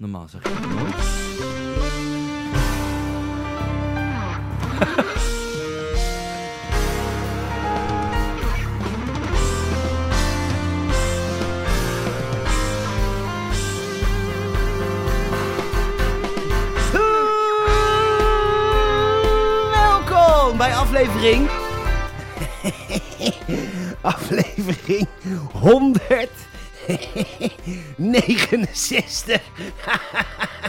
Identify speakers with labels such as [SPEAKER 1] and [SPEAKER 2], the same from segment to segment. [SPEAKER 1] Normaal zeg ik dat nooit. Welkom bij aflevering
[SPEAKER 2] aflevering 169.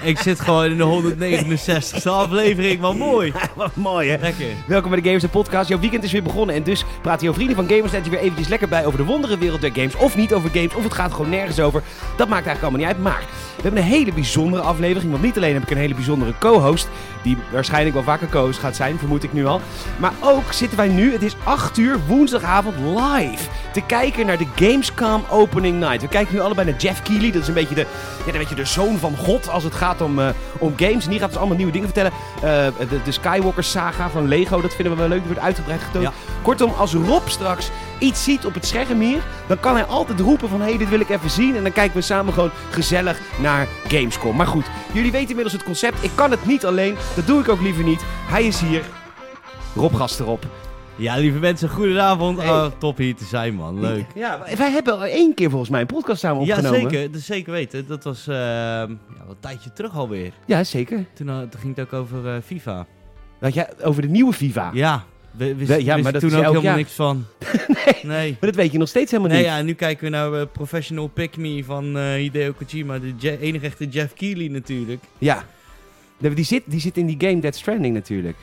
[SPEAKER 1] Ik zit gewoon in de 169ste aflevering, wat mooi.
[SPEAKER 2] Wat mooi hè.
[SPEAKER 1] Lekker.
[SPEAKER 2] Welkom bij de Gamers en Podcast. Jouw weekend is weer begonnen en dus praten jouw vrienden van Gamers net weer eventjes lekker bij over de wonderenwereld der games. Of niet over games, of het gaat gewoon nergens over. Dat maakt eigenlijk allemaal niet uit. Maar we hebben een hele bijzondere aflevering. Want niet alleen heb ik een hele bijzondere co-host, die waarschijnlijk wel vaker co-host gaat zijn, vermoed ik nu al. Maar ook zitten wij nu, het is 8 uur woensdagavond live, te kijken naar de Gamescom Opening Night. We kijken nu allebei naar Jeff Keighley, dat is een beetje de, ja, een beetje de zoon van God als het gaat om, eh, om games. En die gaat ons allemaal nieuwe dingen vertellen. Eh, de, de Skywalker saga van Lego, dat vinden we wel leuk, die wordt uitgebreid getoond.
[SPEAKER 1] Ja.
[SPEAKER 2] Kortom, als Rob straks iets ziet op het scherm hier, dan kan hij altijd roepen van hé, hey, dit wil ik even zien. En dan kijken we samen gewoon gezellig naar Gamescom. Maar goed, jullie weten inmiddels het concept. Ik kan het niet alleen, dat doe ik ook liever niet. Hij is hier. Rob Gasterop.
[SPEAKER 1] Ja, lieve mensen, goedenavond.
[SPEAKER 2] Hey.
[SPEAKER 1] Ah, top hier te zijn, man. Leuk.
[SPEAKER 2] Ja, wij hebben al één keer volgens mij een podcast samen
[SPEAKER 1] Ja,
[SPEAKER 2] opgenomen.
[SPEAKER 1] zeker. Dat is zeker weten. Dat was ehm, ja, wel een tijdje terug alweer.
[SPEAKER 2] Ja, zeker.
[SPEAKER 1] Toen, eh, toen ging het ook over eh, FIFA.
[SPEAKER 2] Want jij over de nieuwe FIFA.
[SPEAKER 1] Ja, we
[SPEAKER 2] Ja,
[SPEAKER 1] wisten
[SPEAKER 2] maar
[SPEAKER 1] wist
[SPEAKER 2] dat
[SPEAKER 1] toen
[SPEAKER 2] is
[SPEAKER 1] ook
[SPEAKER 2] elk
[SPEAKER 1] helemaal
[SPEAKER 2] jaar.
[SPEAKER 1] niks van. nee. nee.
[SPEAKER 2] Maar dat weet je nog steeds helemaal niet.
[SPEAKER 1] ja, en nu kijken we naar eh, Professional Pick Me van eh Hideo Kojima. De Je- enige echte Jeff Keighley natuurlijk.
[SPEAKER 2] Ja. Nee, Die zit, die zit in die game Dead Stranding natuurlijk.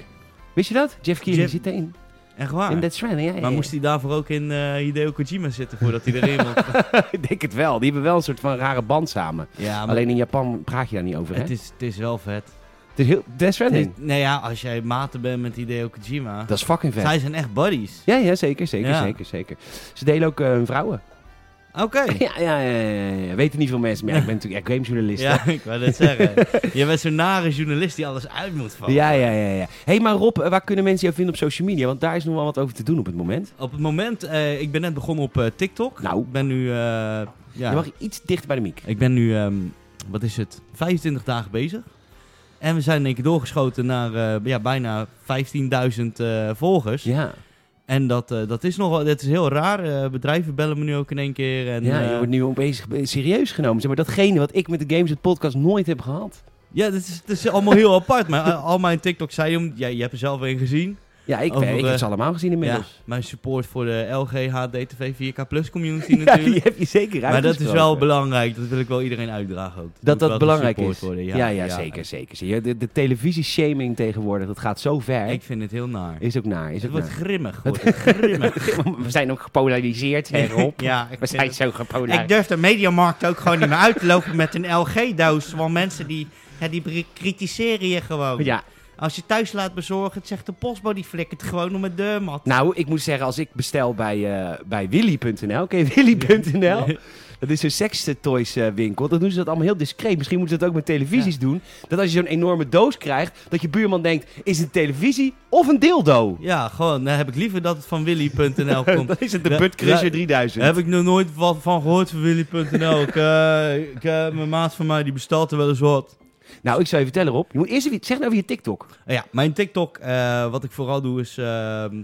[SPEAKER 2] Wist je dat? Jeff Keighley
[SPEAKER 1] Jeff-
[SPEAKER 2] zit erin.
[SPEAKER 1] Echt waar.
[SPEAKER 2] In Dead Stranding, ja. ja,
[SPEAKER 1] Maar
[SPEAKER 2] ja.
[SPEAKER 1] moest hij daarvoor ook in eh Hideo Kojima zitten voordat hij erin mocht?
[SPEAKER 2] Ik denk het wel. Die hebben wel een soort van rare band samen.
[SPEAKER 1] Ja, Ah, maar
[SPEAKER 2] Alleen in Japan praat je daar niet over, hè?
[SPEAKER 1] het, is, het is wel vet.
[SPEAKER 2] Het is heel... Death
[SPEAKER 1] Het is-
[SPEAKER 2] Stranding.
[SPEAKER 1] nou ja, als jij maten bent met Hideo Kojima.
[SPEAKER 2] Dat is fucking vet.
[SPEAKER 1] Zij zijn echt buddies.
[SPEAKER 2] Ja, ja, zeker, zeker,
[SPEAKER 1] Ja.
[SPEAKER 2] zeker, zeker. Ze delen ook eh, hun vrouwen.
[SPEAKER 1] Oké.
[SPEAKER 2] Ja, ja, ja, ja, ja. Weten niet veel mensen, maar ja, ik ben natuurlijk echt gamejournalist. hè.
[SPEAKER 1] Ja, ik wou net zeggen. je bent zo'n nare journalist die alles uit moet vallen.
[SPEAKER 2] Ja, ja, ja, ja. hey, maar Rob, eh, waar kunnen mensen jou vinden op social media? Want daar is nog wel wat over te doen op het moment.
[SPEAKER 1] Op het moment, eh, ik ben net begonnen op eh, TikTok.
[SPEAKER 2] Nou.
[SPEAKER 1] Ik ben nu, eh, ja,
[SPEAKER 2] Je mag iets dichter bij de mic.
[SPEAKER 1] ik ben nu, ehm, wat is het, 25 dagen bezig. En we zijn in één keer doorgeschoten naar eh, ja, bijna 15.000 eh, volgers.
[SPEAKER 2] Ja,
[SPEAKER 1] En dat, eh, dat is nogal, dat is heel raar. Eh, bedrijven bellen me nu ook in één keer. En,
[SPEAKER 2] ja
[SPEAKER 1] eh,
[SPEAKER 2] je wordt nu opeens ge- serieus genomen. Zeg maar datgene wat ik met de Games het Podcast nooit heb gehad.
[SPEAKER 1] ja, dat is, dat is allemaal heel apart. Maar eh, al mijn TikToks zijn, om- jij je hebt er zelf een gezien.
[SPEAKER 2] Ja, ik,
[SPEAKER 1] Over,
[SPEAKER 2] ik
[SPEAKER 1] eh,
[SPEAKER 2] heb ze allemaal gezien
[SPEAKER 1] Ja,
[SPEAKER 2] inmiddels.
[SPEAKER 1] mijn support voor de LGHDTV 4K Plus community
[SPEAKER 2] Ja,
[SPEAKER 1] natuurlijk.
[SPEAKER 2] die heb je zeker
[SPEAKER 1] maar dat is wel
[SPEAKER 2] uitgesproken.
[SPEAKER 1] belangrijk. Dat wil ik wel iedereen uitdragen ook.
[SPEAKER 2] Dat
[SPEAKER 1] moet wel
[SPEAKER 2] dat belangrijk
[SPEAKER 1] gesupport
[SPEAKER 2] is.
[SPEAKER 1] worden,
[SPEAKER 2] ja, ja, zeker, zeker. Zie je, De, de televisie-shaming tegenwoordig, dat gaat zo ver.
[SPEAKER 1] Ik vind het heel naar.
[SPEAKER 2] Is ook naar, is
[SPEAKER 1] het
[SPEAKER 2] ook
[SPEAKER 1] wordt
[SPEAKER 2] naar.
[SPEAKER 1] grimmig. Wordt het grimmig.
[SPEAKER 2] We zijn ook gepolariseerd, hè Rob?
[SPEAKER 1] ja, ik,
[SPEAKER 2] We zijn zo
[SPEAKER 1] ik
[SPEAKER 2] gepolariseerd.
[SPEAKER 1] durf de mediamarkt ook gewoon niet meer uit te lopen met een LG-doos. Want mensen die, ja, die bri- kritiseren je gewoon.
[SPEAKER 2] Ja,
[SPEAKER 1] Als je thuis laat bezorgen, het zegt de postbode, die flikkert gewoon om het deurmat.
[SPEAKER 2] nou, ik moet zeggen, als ik bestel bij, eh, bij willy.nl, oké, willy.nl. Dat is een sextoys eh, winkel. Dan doen ze dat allemaal heel discreet. Misschien moeten ze dat ook met televisies doen. Dat als je zo'n enorme doos krijgt, dat je buurman denkt, is het een televisie of een dildo?
[SPEAKER 1] Ja, gewoon, dan heb ik liever dat het van willy.nl komt.
[SPEAKER 2] Dan is het de
[SPEAKER 1] Ja,
[SPEAKER 2] Buttcrusher
[SPEAKER 1] ja,
[SPEAKER 2] 3000.
[SPEAKER 1] Daar heb ik nog nooit wat van gehoord van Willy.nl. ik, eh, ik, eh, mijn maat van mij die bestelt er wel eens wat.
[SPEAKER 2] Nou, ik zou je vertellen, Rob. Je moet eerst even, zeg nou over je TikTok.
[SPEAKER 1] Eh, ja, mijn TikTok, eh, wat ik vooral doe is ehm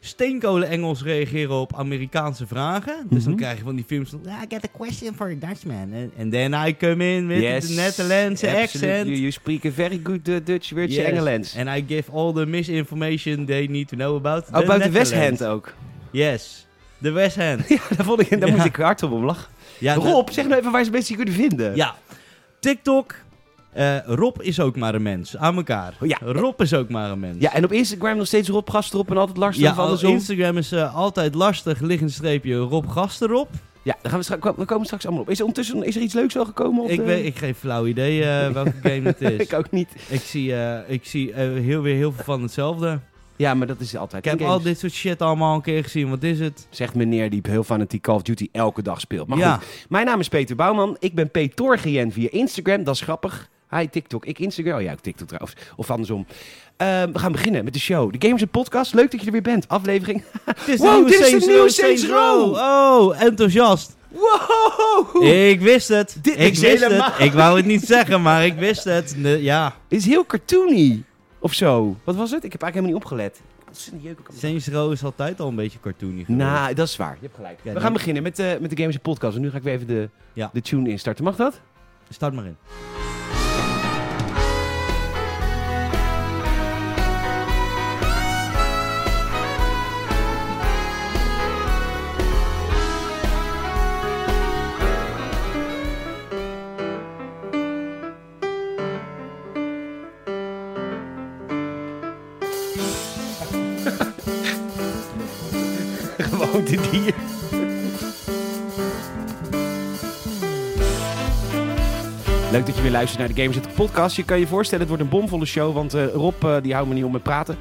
[SPEAKER 1] steenkolen Engels reageren op Amerikaanse vragen. Dus dan
[SPEAKER 2] Mhm.
[SPEAKER 1] krijg je van die films van, "Ah, I got a question for a Dutchman. And, and then I come in with the Netherlandse
[SPEAKER 2] absolute. You,
[SPEAKER 1] accent.
[SPEAKER 2] you speak a very good uh, Dutch word
[SPEAKER 1] Yes.
[SPEAKER 2] Engelands.
[SPEAKER 1] And I give all the misinformation they need to know about
[SPEAKER 2] Ook buiten
[SPEAKER 1] Netherlands.
[SPEAKER 2] West Hand ook.
[SPEAKER 1] Yes, de West Hand.
[SPEAKER 2] Ja, daar, vond ik, daar
[SPEAKER 1] Ja.
[SPEAKER 2] moest ik hard op lachen.
[SPEAKER 1] Ja, dat-
[SPEAKER 2] Rob, zeg nou even waar ze mensen je kunnen vinden.
[SPEAKER 1] Ja, Eh, TikTok. eh, Rob is ook maar een mens. Aan elkaar.
[SPEAKER 2] Oh, Ja.
[SPEAKER 1] Rob is ook maar een mens.
[SPEAKER 2] Ja, en op Instagram nog steeds Rob Gastrop en altijd Lars
[SPEAKER 1] Ja,
[SPEAKER 2] ja,
[SPEAKER 1] al-
[SPEAKER 2] andersom.
[SPEAKER 1] Instagram is eh, altijd lastig. Lig een streepje Rob Gast erop.
[SPEAKER 2] Ja, daar gaan we, straks, we komen straks allemaal op. Is er ondertussen is er iets leuks wel gekomen? Op
[SPEAKER 1] Ik,
[SPEAKER 2] de-
[SPEAKER 1] weet, ik geef flauw idee eh, welke game het is.
[SPEAKER 2] eh? ik ook niet.
[SPEAKER 1] Ik zie, eh, ik zie eh, heel, weer heel veel van hetzelfde.
[SPEAKER 2] Ja, maar dat is altijd.
[SPEAKER 1] Ik heb
[SPEAKER 2] in games.
[SPEAKER 1] al dit soort shit allemaal een keer gezien. Wat is het?
[SPEAKER 2] Zegt meneer die heel fanatiek Call of Duty elke dag speelt. Maar
[SPEAKER 1] ja,
[SPEAKER 2] goed, mijn naam is Peter Bouwman. Ik ben Petorgien via Instagram. Dat is grappig. Hi TikTok. Ik Instagram. Oh ja, ik TikTok trouwens. Of andersom. Eh, we gaan beginnen met de show. De Gamers en Podcast. Leuk dat je er weer bent. Aflevering
[SPEAKER 1] het is
[SPEAKER 2] Wow,
[SPEAKER 1] de nieuwe
[SPEAKER 2] dit is de
[SPEAKER 1] Saints
[SPEAKER 2] nieuwe
[SPEAKER 1] Row,
[SPEAKER 2] Saints
[SPEAKER 1] Saints Row. Oh, enthousiast.
[SPEAKER 2] Wow!
[SPEAKER 1] Ik wist het.
[SPEAKER 2] Dit
[SPEAKER 1] ik
[SPEAKER 2] is
[SPEAKER 1] wist
[SPEAKER 2] helemaal-
[SPEAKER 1] het. Ik wou het niet zeggen, maar ik wist het. Ne- ja.
[SPEAKER 2] Is heel cartoony. Of zo. Wat was het? Ik heb eigenlijk helemaal niet opgelet. Ontzettend jeuk ook allemaal.
[SPEAKER 1] Saints Row is altijd al een beetje cartoony geworden.
[SPEAKER 2] Nou, dat is waar. Je hebt gelijk.
[SPEAKER 1] Ja,
[SPEAKER 2] We gaan
[SPEAKER 1] nee.
[SPEAKER 2] beginnen met, eh, met de Games Podcast. En nu ga ik weer even de,
[SPEAKER 1] Ja.
[SPEAKER 2] de tune instarten. Mag dat?
[SPEAKER 1] Start maar in.
[SPEAKER 2] Gewoon dit hier. Leuk dat je weer luistert naar de Gamers at Podcast. Je kan je voorstellen, het wordt een bomvolle show, want eh, Rob eh, die houdt me niet om met praten.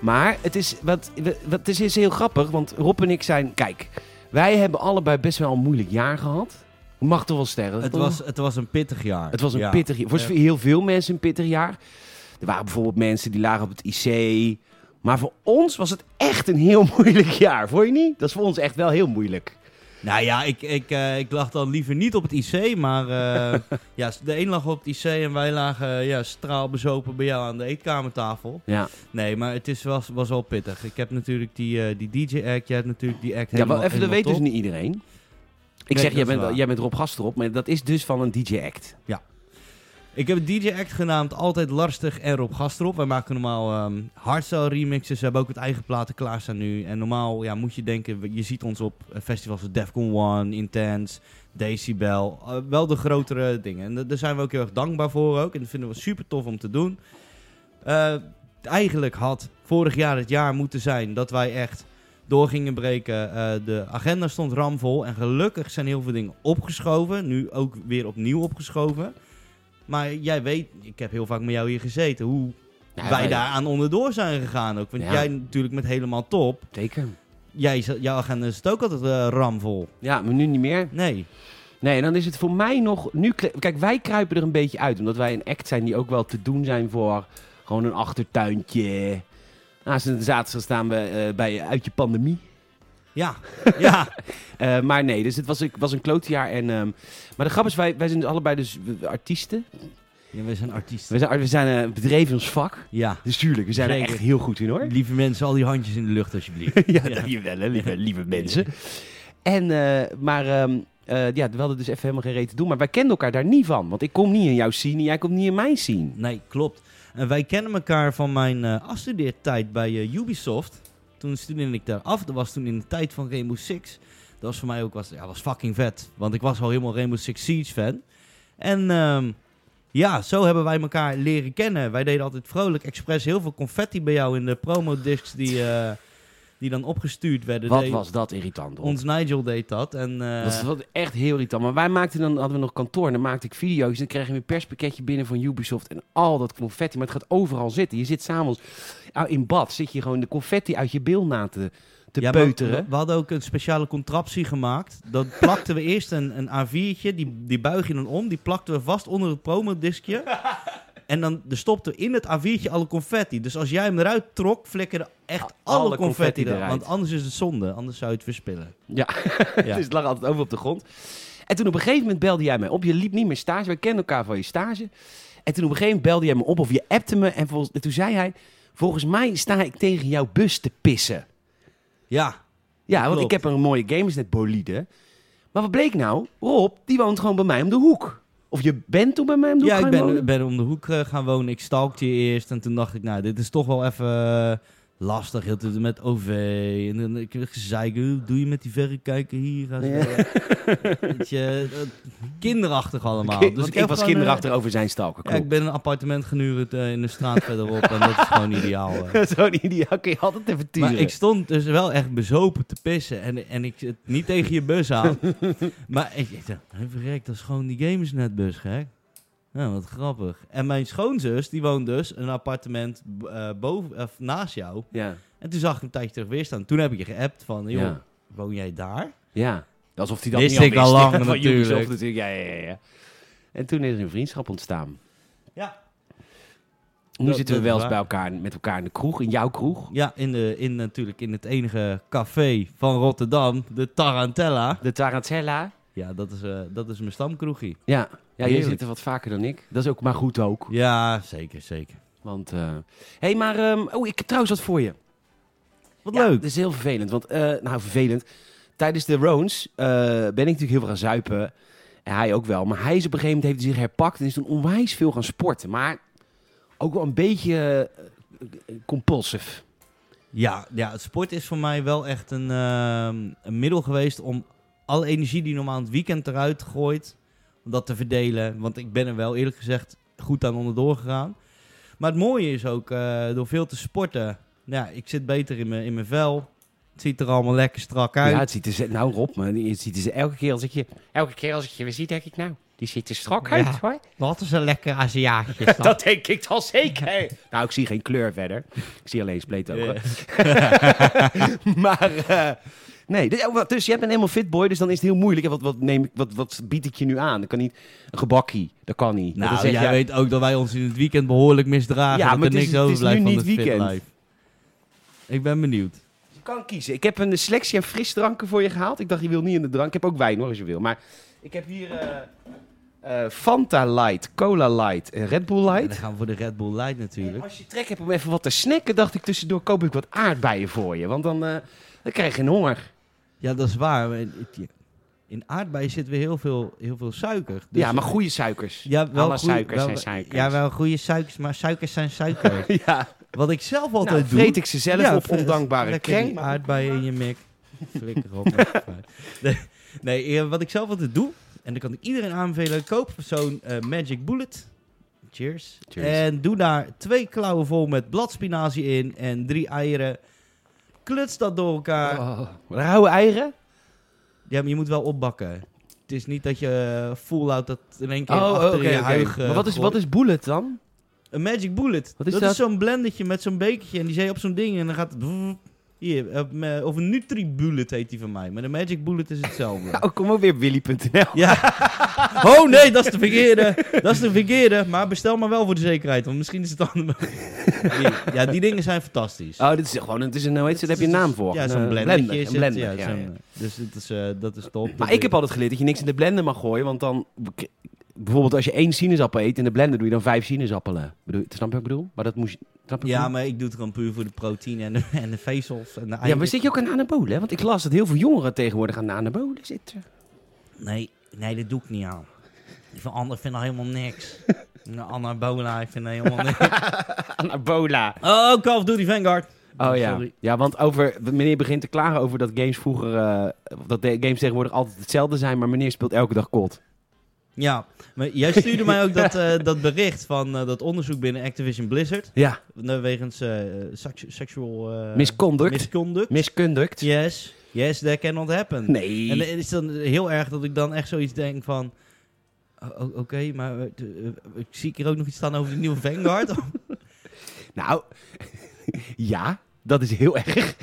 [SPEAKER 2] Maar het is, wat, wat, het is, is heel grappig, want Rob en ik zijn... Kijk, wij hebben allebei best wel een moeilijk jaar gehad. Mag toch wel sterren?
[SPEAKER 1] Het
[SPEAKER 2] toch?
[SPEAKER 1] was, het was een pittig jaar.
[SPEAKER 2] Het was een
[SPEAKER 1] Ja.
[SPEAKER 2] pittig jaar. Voor
[SPEAKER 1] Ja.
[SPEAKER 2] heel veel mensen een pittig jaar. Er waren bijvoorbeeld mensen die lagen op het IC. Maar voor ons was het echt een heel moeilijk jaar, vond je niet? Dat is voor ons echt wel heel moeilijk.
[SPEAKER 1] Nou ja, ik, ik, eh, ik lag dan liever niet op het IC, maar eh, ja, de een lag op het IC en wij lagen eh, ja, straalbezopen bij jou aan de eetkamertafel.
[SPEAKER 2] Ja,
[SPEAKER 1] Nee, maar het is, was, was wel pittig. Ik heb natuurlijk die, eh, die DJ-act, jij hebt natuurlijk die act
[SPEAKER 2] ja
[SPEAKER 1] helemaal
[SPEAKER 2] maar even, dat
[SPEAKER 1] helemaal
[SPEAKER 2] weet dus
[SPEAKER 1] top.
[SPEAKER 2] niet iedereen. Ik
[SPEAKER 1] Nee, dat
[SPEAKER 2] zeg, jij
[SPEAKER 1] is
[SPEAKER 2] bent,
[SPEAKER 1] waar.
[SPEAKER 2] jij bent Rob Gasterop, maar dat is dus van een DJ-act.
[SPEAKER 1] Ik heb een DJ-act genaamd Altijd Lastig en Rob Gastrop. Wij maken normaal ehm hardstyle remixes. We hebben ook het eigen platen klaarstaan nu. En normaal ja, moet je denken, we- je ziet ons op eh, festivals als Defcon One, Intense, Decibel. eh, wel de grotere dingen. En da- daar zijn we ook heel erg dankbaar voor ook. En dat vinden we super tof om te doen. Eh, eigenlijk had vorig jaar het jaar moeten zijn dat wij echt door gingen breken. Eh, de agenda stond ramvol. En gelukkig zijn heel veel dingen opgeschoven. Nu ook weer opnieuw opgeschoven. Maar jij weet, ik heb heel vaak met jou hier gezeten, hoe
[SPEAKER 2] Ja,
[SPEAKER 1] wij daaraan onderdoor zijn gegaan ook. Want
[SPEAKER 2] Ja.
[SPEAKER 1] jij natuurlijk met helemaal top.
[SPEAKER 2] Zeker.
[SPEAKER 1] Jij, z- jouw agenda is het ook altijd eh, ramvol.
[SPEAKER 2] Ja, maar nu niet meer.
[SPEAKER 1] Nee.
[SPEAKER 2] Nee, en dan is het voor mij nog... Nu, kle- kijk, wij kruipen er een beetje uit. Omdat wij een act zijn die ook wel te doen zijn voor gewoon een achtertuintje. Naast een zaterdag staan we eh, bij Uit Je Pandemie.
[SPEAKER 1] Ja, ja.
[SPEAKER 2] Eh, maar nee, dus het was, ik was een klootjaar. En, ehm, maar de grap is, wij, wij zijn dus allebei dus eh, artiesten.
[SPEAKER 1] ja we zijn artiesten.
[SPEAKER 2] We zijn, we zijn eh, bedreven in ons vak.
[SPEAKER 1] Ja.
[SPEAKER 2] Dus tuurlijk, we zijn er
[SPEAKER 1] Zeker.
[SPEAKER 2] echt heel goed in hoor.
[SPEAKER 1] Lieve mensen, al die handjes in de lucht alsjeblieft.
[SPEAKER 2] ja, dankjewel hè, lieve, lieve mensen. En, eh, maar ehm, eh, ja, we hadden dus even helemaal geen reet te doen. Maar wij kenden elkaar daar niet van. Want ik kom niet in jouw scene en jij komt niet in mijn scene.
[SPEAKER 1] Nee, klopt. En wij kennen elkaar van mijn eh afstudeertijd bij eh, Ubisoft. Toen studeerde ik daar af. Dat was toen in de tijd van Rainbow Six. Dat was voor mij ook was, ja, was fucking vet. Want ik was al helemaal Rainbow Six Siege fan. En ehm, ja, zo hebben wij elkaar leren kennen. Wij deden altijd vrolijk expres heel veel confetti bij jou in de promodiscs die, eh, die dan opgestuurd werden.
[SPEAKER 2] Wat
[SPEAKER 1] Deed-
[SPEAKER 2] was dat irritant. hoor.
[SPEAKER 1] Ons Nigel deed dat. En, eh,
[SPEAKER 2] Dat was echt heel irritant. Maar wij maakten dan, hadden we nog kantoor en dan maakte ik video's. En dan kreeg je een perspakketje binnen van Ubisoft en al dat confetti. Maar het gaat overal zitten. Je zit s'avonds ah, in bad, zit je gewoon de confetti uit je bil na te, te
[SPEAKER 1] Ja, maar
[SPEAKER 2] peuteren.
[SPEAKER 1] We, we hadden ook een speciale contraptie gemaakt. Dat plakten we eerst een, een A4'tje, die, die buig je dan om, die plakten we vast onder het promodiskje. En dan er stopte in het A4'tje alle confetti. Dus als jij hem eruit trok, flikkerde echt
[SPEAKER 2] Alle
[SPEAKER 1] alle,
[SPEAKER 2] confetti
[SPEAKER 1] confetti, eruit.
[SPEAKER 2] eruit.
[SPEAKER 1] Want anders is het zonde, anders zou je het verspillen.
[SPEAKER 2] Ja,
[SPEAKER 1] Ja.
[SPEAKER 2] dus het lag altijd over op de grond. En toen op een gegeven moment belde jij mij op. Je liep niet meer stage. Wij kenden elkaar van je stage. En toen op een gegeven moment belde jij me op of je appte me. En, volgens, en toen zei hij, volgens mij sta ik tegen jouw bus te pissen.
[SPEAKER 1] Ja,
[SPEAKER 2] Ja, want
[SPEAKER 1] Klopt.
[SPEAKER 2] ik heb een mooie gamersnet bolide. Maar wat bleek nou? Rob, die woont gewoon bij mij om de hoek. Of je bent toen bij mij om de
[SPEAKER 1] ja
[SPEAKER 2] hoek
[SPEAKER 1] ik
[SPEAKER 2] gaan
[SPEAKER 1] ben,
[SPEAKER 2] wonen?
[SPEAKER 1] ben om de hoek eh, gaan wonen. Ik stalkte je eerst. En toen dacht ik, nou, dit is toch wel even eh, lastig. Heel de tijd met OV. En dan ik heb gezeik. Hoe doe je met die verrekijker hier? Ga zo. Weet je, eh, kinderachtig allemaal.
[SPEAKER 2] Want
[SPEAKER 1] Dus
[SPEAKER 2] ik,
[SPEAKER 1] heb
[SPEAKER 2] was
[SPEAKER 1] gewoon,
[SPEAKER 2] kinderachtig over zijn stalker.
[SPEAKER 1] eh, ja, ik ben een appartement genuurd eh, in de straat verderop. En dat is gewoon ideaal. eh.
[SPEAKER 2] klopt. Zo'n ideaal kun je altijd even turen.
[SPEAKER 1] Maar ik stond dus wel echt bezopen te pissen. En, en ik zit niet tegen je bus aan. maar ik ik dacht, hey, verrek, dat is gewoon die gamersnetbus, gek. Nou, wat grappig. En mijn schoonzus, die woont dus een appartement b- eh, boven, of naast jou.
[SPEAKER 2] Ja,
[SPEAKER 1] En toen zag ik hem een tijdje terug weer staan. Toen heb ik je geappt van, joh,
[SPEAKER 2] Ja.
[SPEAKER 1] woon jij daar?
[SPEAKER 2] ja. Alsof hij dat
[SPEAKER 1] Wist
[SPEAKER 2] niet al
[SPEAKER 1] ik al lang,
[SPEAKER 2] Van
[SPEAKER 1] natuurlijk.
[SPEAKER 2] Ubisoft natuurlijk. Ja, ja, ja, ja. En toen is er een vriendschap ontstaan.
[SPEAKER 1] Ja.
[SPEAKER 2] Nu
[SPEAKER 1] Dat-
[SPEAKER 2] zitten
[SPEAKER 1] dat
[SPEAKER 2] we wel
[SPEAKER 1] is
[SPEAKER 2] eens bij
[SPEAKER 1] waar.
[SPEAKER 2] elkaar met elkaar in de kroeg, in jouw kroeg.
[SPEAKER 1] Ja, in, de, in natuurlijk in het enige café van Rotterdam, de Tarantella.
[SPEAKER 2] De Tarantella.
[SPEAKER 1] Ja, dat is, eh, dat is mijn stamkroegie.
[SPEAKER 2] Ja, ja jij
[SPEAKER 1] Heerlijk.
[SPEAKER 2] zit er wat vaker dan ik. Dat is ook maar goed ook.
[SPEAKER 1] Ja, zeker, zeker.
[SPEAKER 2] Want, eh, hey, maar, ehm, oh, ik heb trouwens wat voor je.
[SPEAKER 1] Wat
[SPEAKER 2] Ja,
[SPEAKER 1] leuk.
[SPEAKER 2] Dat is heel vervelend. Want, eh, nou, vervelend. Tijdens de Rones eh, ben ik natuurlijk heel veel gaan zuipen. En hij ook wel. Maar hij is op een gegeven moment heeft hij zich herpakt en is toen onwijs veel gaan sporten. Maar ook wel een beetje eh, compulsive.
[SPEAKER 1] Ja, ja, het sport is voor mij wel echt een, ehm, een middel geweest om alle energie die normaal aan het weekend eruit gooit, om dat te verdelen. Want ik ben er wel eerlijk gezegd goed aan onderdoor gegaan. Maar het mooie is ook, eh, door veel te sporten, nou, ja, ik zit beter in mijn, in mijn vel. Het ziet er allemaal lekker strak uit.
[SPEAKER 2] Ja, het ziet er, ze- nou Rob, man, het ziet er ze- elke keer als ik je, elke keer als ik je weer zie, denk ik nou, die ziet er strak uit
[SPEAKER 1] Ja.
[SPEAKER 2] hoor.
[SPEAKER 1] Wat is een lekker Aziatje.
[SPEAKER 2] Dat denk ik dan zeker. nou, ik zie geen kleur verder. Ik zie alleen spleet
[SPEAKER 1] Eh,
[SPEAKER 2] ook. maar eh, nee, dus, oh, wat- dus jij bent helemaal fitboy, dus dan is het heel moeilijk. hè? Wat, wat, neem ik, wat, wat bied ik je nu aan? Dat kan niet een gebakkie, dat kan niet.
[SPEAKER 1] Nou,
[SPEAKER 2] dat is echt-
[SPEAKER 1] jij
[SPEAKER 2] ja,
[SPEAKER 1] weet ook dat wij ons in het weekend behoorlijk misdragen.
[SPEAKER 2] Ja,
[SPEAKER 1] dat
[SPEAKER 2] maar
[SPEAKER 1] er
[SPEAKER 2] het is-
[SPEAKER 1] niks
[SPEAKER 2] het is
[SPEAKER 1] overblijft
[SPEAKER 2] nu
[SPEAKER 1] van
[SPEAKER 2] niet
[SPEAKER 1] de
[SPEAKER 2] weekend.
[SPEAKER 1] fitlife. Ik ben benieuwd.
[SPEAKER 2] je kan kiezen. Ik heb een selectie aan frisdranken voor je gehaald. Ik dacht, je wil niet in de drank. Ik heb ook wijn hoor, als je wil. Maar ik heb hier eh, eh, Fanta Light, Cola Light en Red Bull
[SPEAKER 1] En
[SPEAKER 2] Light.
[SPEAKER 1] dan gaan we voor de Red Bull Light
[SPEAKER 2] En
[SPEAKER 1] natuurlijk.
[SPEAKER 2] Als je trek hebt om even wat te snacken, dacht ik tussendoor koop ik wat aardbeien voor je. Want dan, eh, dan krijg je een honger.
[SPEAKER 1] Ja, dat is waar. maar in- In aardbeien zit weer heel veel, heel veel suiker. Dus-
[SPEAKER 2] ja, maar goede suikers.
[SPEAKER 1] Ja, wel
[SPEAKER 2] Alle
[SPEAKER 1] goeie-
[SPEAKER 2] suikers
[SPEAKER 1] wel-
[SPEAKER 2] zijn suikers.
[SPEAKER 1] Ja, wel goede suikers, maar suikers zijn suikers.
[SPEAKER 2] ja.
[SPEAKER 1] Wat ik zelf
[SPEAKER 2] Nou,
[SPEAKER 1] altijd doe...
[SPEAKER 2] vreet ik ze zelf
[SPEAKER 1] Ja,
[SPEAKER 2] op
[SPEAKER 1] fris-
[SPEAKER 2] ondankbare
[SPEAKER 1] lekker
[SPEAKER 2] krenk.
[SPEAKER 1] die
[SPEAKER 2] maar-
[SPEAKER 1] aardbeien in je mik. Flikker op. maakt het uit. nee, nee, eh, wat ik zelf altijd doe, en dat kan ik iedereen aanbevelen, koop zo'n eh, Magic Bullet. Cheers.
[SPEAKER 2] Cheers.
[SPEAKER 1] En doe daar twee klauwen vol met bladspinazie in en drie eieren. Kluts dat door elkaar.
[SPEAKER 2] Oh, Rauwe eieren?
[SPEAKER 1] Ja, maar je moet wel opbakken. Het is niet dat je eh, full out dat in één keer
[SPEAKER 2] Oh,
[SPEAKER 1] achter
[SPEAKER 2] oké.
[SPEAKER 1] je
[SPEAKER 2] oké.
[SPEAKER 1] huig eh,
[SPEAKER 2] maar wat is,
[SPEAKER 1] gooit.
[SPEAKER 2] wat is bullet dan?
[SPEAKER 1] Een Magic Bullet.
[SPEAKER 2] Wat is
[SPEAKER 1] dat,
[SPEAKER 2] dat?
[SPEAKER 1] is zo'n blendertje met zo'n bekertje. En die zet je op zo'n ding en dan gaat het... brrr. Hier, eh, me- of een Nutri-bullet heet die van mij. Maar een Magic Bullet is hetzelfde.
[SPEAKER 2] Oh, kom ook weer op willy.nl.
[SPEAKER 1] ja. Oh nee, dat is de verkeerde. Dat is de verkeerde. Maar bestel maar wel voor de zekerheid. Want misschien is het dan... Die- ja, die dingen zijn fantastisch.
[SPEAKER 2] Oh, dit is gewoon, het is een, hoe heet ze, daar heb je een naam voor.
[SPEAKER 1] Ja,
[SPEAKER 2] Een,
[SPEAKER 1] zo'n
[SPEAKER 2] eh,
[SPEAKER 1] blendertje. is
[SPEAKER 2] Een
[SPEAKER 1] het.
[SPEAKER 2] blender,
[SPEAKER 1] ja,
[SPEAKER 2] ja,
[SPEAKER 1] zo'n-
[SPEAKER 2] ja.
[SPEAKER 1] Dus dat is, eh, dat is top. Dat
[SPEAKER 2] Maar ik
[SPEAKER 1] weet-
[SPEAKER 2] heb altijd geleerd dat je niks in de blender mag gooien, want dan... Bijvoorbeeld als je één sinaasappel eet, in de blender doe je dan vijf sinaasappelen. Bedoel, snap je wat ik bedoel? Maar dat moest je... snap je wat ik
[SPEAKER 1] Ja,
[SPEAKER 2] bedoel?
[SPEAKER 1] maar ik doe het gewoon puur voor de proteïne en de, en de vezels. En de
[SPEAKER 2] Ja, maar
[SPEAKER 1] eiwitten.
[SPEAKER 2] zit je ook aan anabolen? hè? Want ik las dat heel veel jongeren tegenwoordig aan de anabolen zitten.
[SPEAKER 1] Nee, nee, dat doe ik niet aan. Ik vind, ander vind dat helemaal niks. Nou, Een anabola, ik vind dat helemaal niks.
[SPEAKER 2] Anabola.
[SPEAKER 1] Oh, Call of Duty Vanguard.
[SPEAKER 2] Oh ja.
[SPEAKER 1] Sorry.
[SPEAKER 2] Ja, want over, meneer begint te klagen over dat games vroeger... eh, dat de games tegenwoordig altijd hetzelfde zijn, maar meneer speelt elke dag kot.
[SPEAKER 1] Ja, maar jij stuurde mij ook dat, eh, dat bericht van eh, dat onderzoek binnen Activision Blizzard.
[SPEAKER 2] Ja.
[SPEAKER 1] eh, Wegens eh, seks- sexual... eh,
[SPEAKER 2] Misconduct.
[SPEAKER 1] misconduct.
[SPEAKER 2] Misconduct.
[SPEAKER 1] Yes, yes, that cannot happen.
[SPEAKER 2] Nee.
[SPEAKER 1] En het is dan heel erg dat ik dan echt zoiets denk van... o- o- Oké, maar eh, d- eh, ik zie hier ook nog iets staan over de nieuwe Vanguard.
[SPEAKER 2] Nou, ja, dat is heel erg.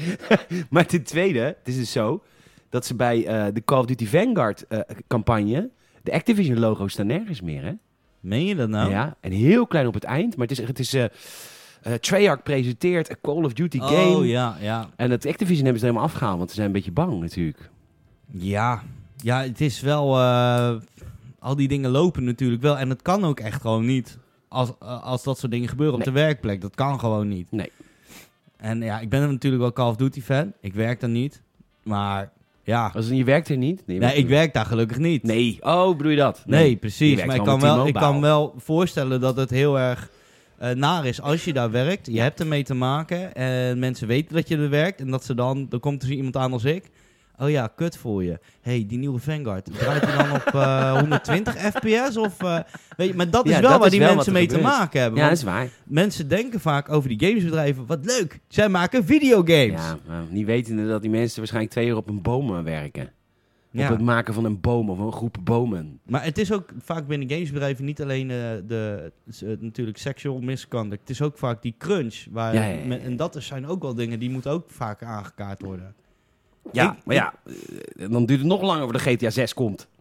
[SPEAKER 2] maar ten tweede, het is dus zo dat ze bij eh, de Call of Duty Vanguard eh, campagne... De Activision logo staan nergens meer, hè?
[SPEAKER 1] Meen je dat nou?
[SPEAKER 2] Ja, en heel klein op het eind. Maar het is... Het is eh, eh, Treyarch presenteert een Call of Duty game.
[SPEAKER 1] Oh ja, ja.
[SPEAKER 2] En het Activision hebben ze helemaal afgehaald, want ze zijn een beetje bang natuurlijk.
[SPEAKER 1] Ja, ja het is wel. eh, al die dingen lopen natuurlijk wel. En het kan ook echt gewoon niet. Als, eh, als dat soort dingen gebeuren op
[SPEAKER 2] Nee.
[SPEAKER 1] de werkplek. Dat kan gewoon niet.
[SPEAKER 2] Nee.
[SPEAKER 1] En ja, ik ben natuurlijk wel Call of Duty fan. Ik werk daar niet. Maar ja.
[SPEAKER 2] Als Oh, je werkt er niet? je
[SPEAKER 1] Nee,
[SPEAKER 2] werkt
[SPEAKER 1] ik
[SPEAKER 2] er-
[SPEAKER 1] werk daar gelukkig niet.
[SPEAKER 2] Nee. Oh, bedoel je dat?
[SPEAKER 1] Nee,
[SPEAKER 2] Je
[SPEAKER 1] precies.
[SPEAKER 2] werkt
[SPEAKER 1] Maar ik
[SPEAKER 2] gewoon
[SPEAKER 1] kan,
[SPEAKER 2] met
[SPEAKER 1] wel, ik
[SPEAKER 2] T-Mobile.
[SPEAKER 1] kan wel voorstellen dat het heel erg eh, naar is als je daar werkt. Je hebt ermee te maken en mensen weten dat je er werkt. En dat ze dan, dan komt er iemand aan als ik. Oh ja, kut voor je. hey, die nieuwe Vanguard, draait hij dan op eh, 120 fps? Of, eh, weet je, maar dat is
[SPEAKER 2] Ja,
[SPEAKER 1] wel
[SPEAKER 2] dat
[SPEAKER 1] waar
[SPEAKER 2] is
[SPEAKER 1] die
[SPEAKER 2] wel
[SPEAKER 1] mensen
[SPEAKER 2] wat
[SPEAKER 1] mee te
[SPEAKER 2] er gebeurt.
[SPEAKER 1] maken hebben.
[SPEAKER 2] Ja,
[SPEAKER 1] Want
[SPEAKER 2] dat is waar.
[SPEAKER 1] Mensen denken vaak over die gamesbedrijven, wat leuk, zij maken videogames.
[SPEAKER 2] Ja, maar niet wetende dat die mensen waarschijnlijk twee uur op een boom eh, werken.
[SPEAKER 1] Ja.
[SPEAKER 2] Op het maken van een boom of een groep bomen.
[SPEAKER 1] Maar het is ook vaak binnen gamesbedrijven niet alleen eh, de, s- eh, natuurlijk sexual misconduct. Het is ook vaak die crunch. Waar
[SPEAKER 2] Ja, ja, ja, ja.
[SPEAKER 1] men- en dat is- zijn ook wel dingen die moeten ook vaak aangekaart worden.
[SPEAKER 2] Ja,
[SPEAKER 1] Ik-
[SPEAKER 2] maar ja, eh, dan duurt het nog langer voordat de GTA 6 komt.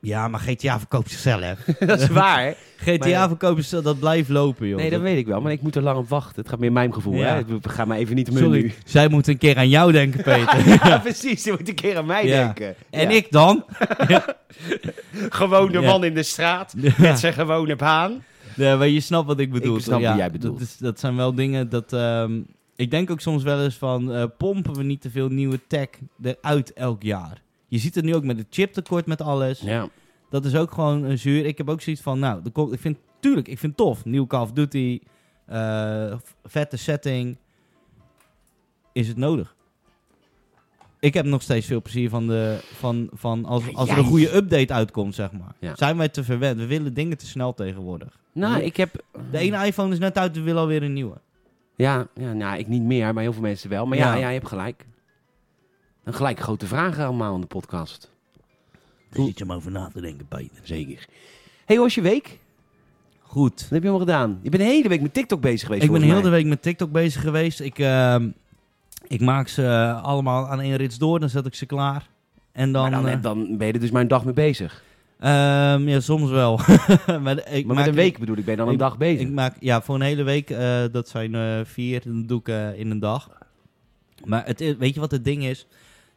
[SPEAKER 1] Ja, maar GTA verkoopt zichzelf.
[SPEAKER 2] dat is waar. hè?
[SPEAKER 1] GTA
[SPEAKER 2] Maar ja.
[SPEAKER 1] verkoopt zichzelf, dat blijft lopen, joh.
[SPEAKER 2] Nee, dat weet ik wel, maar ik moet er lang op wachten. Het gaat meer mijn gevoel.
[SPEAKER 1] Ja.
[SPEAKER 2] Hè? We gaan maar even niet mijn
[SPEAKER 1] Sorry,
[SPEAKER 2] nu.
[SPEAKER 1] zij moet een keer aan jou denken, Peter.
[SPEAKER 2] Ja, precies. Je moet een keer aan mij
[SPEAKER 1] Ja.
[SPEAKER 2] denken.
[SPEAKER 1] En
[SPEAKER 2] Ja.
[SPEAKER 1] ik dan?
[SPEAKER 2] Gewoon de
[SPEAKER 1] Ja.
[SPEAKER 2] man in de straat met zijn gewone baan.
[SPEAKER 1] Nee, maar je snapt wat ik bedoel.
[SPEAKER 2] Ik snap
[SPEAKER 1] Ja,
[SPEAKER 2] wat jij bedoelt.
[SPEAKER 1] Dat, is- dat zijn wel dingen dat... ehm, ik denk ook soms wel eens van, eh, pompen we niet te veel nieuwe tech eruit elk jaar? Je ziet het nu ook met het chiptekort met alles.
[SPEAKER 2] Ja.
[SPEAKER 1] Dat is ook gewoon een zuur. Ik heb ook zoiets van, nou, er komt, ik vind, tuurlijk, ik vind het tof. Nieuw Call of Duty, eh, v- vette setting. Is het nodig? Ik heb nog steeds veel plezier van, de, van, van als,
[SPEAKER 2] Ja,
[SPEAKER 1] als er
[SPEAKER 2] jij-
[SPEAKER 1] een goede update uitkomt, zeg maar.
[SPEAKER 2] Ja.
[SPEAKER 1] Zijn wij te verwend? We willen dingen te snel tegenwoordig.
[SPEAKER 2] Nou, ik heb...
[SPEAKER 1] De ene iPhone is net uit, we willen alweer een nieuwe.
[SPEAKER 2] Ja, ja, nou, ik niet meer, maar heel veel mensen wel. Maar ja, ja.
[SPEAKER 1] Ja.
[SPEAKER 2] je hebt gelijk. Een gelijk grote vragen allemaal aan de podcast.
[SPEAKER 1] Daar zit je om over na te denken, Peter.
[SPEAKER 2] Zeker. hey, hoe was je week?
[SPEAKER 1] Goed.
[SPEAKER 2] Wat heb je allemaal gedaan? Je bent de hele week met TikTok bezig geweest,
[SPEAKER 1] Ik ben
[SPEAKER 2] volgens
[SPEAKER 1] heel de
[SPEAKER 2] mij.
[SPEAKER 1] week met TikTok bezig geweest. Ik, ehm, ik maak ze eh, allemaal aan één rits door, dan zet ik ze klaar. En dan...
[SPEAKER 2] Maar dan,
[SPEAKER 1] eh,
[SPEAKER 2] heb- dan ben je er dus maar een dag mee bezig.
[SPEAKER 1] Ehm, ja, soms wel. maar ik
[SPEAKER 2] Maar
[SPEAKER 1] maak-
[SPEAKER 2] met een week bedoel ik, ben je dan een dag
[SPEAKER 1] Ik,
[SPEAKER 2] bezig.
[SPEAKER 1] maak, ja, voor een hele week, eh, dat zijn eh, vier, dat doe ik eh, in een dag. Maar het, is- weet je wat het ding is?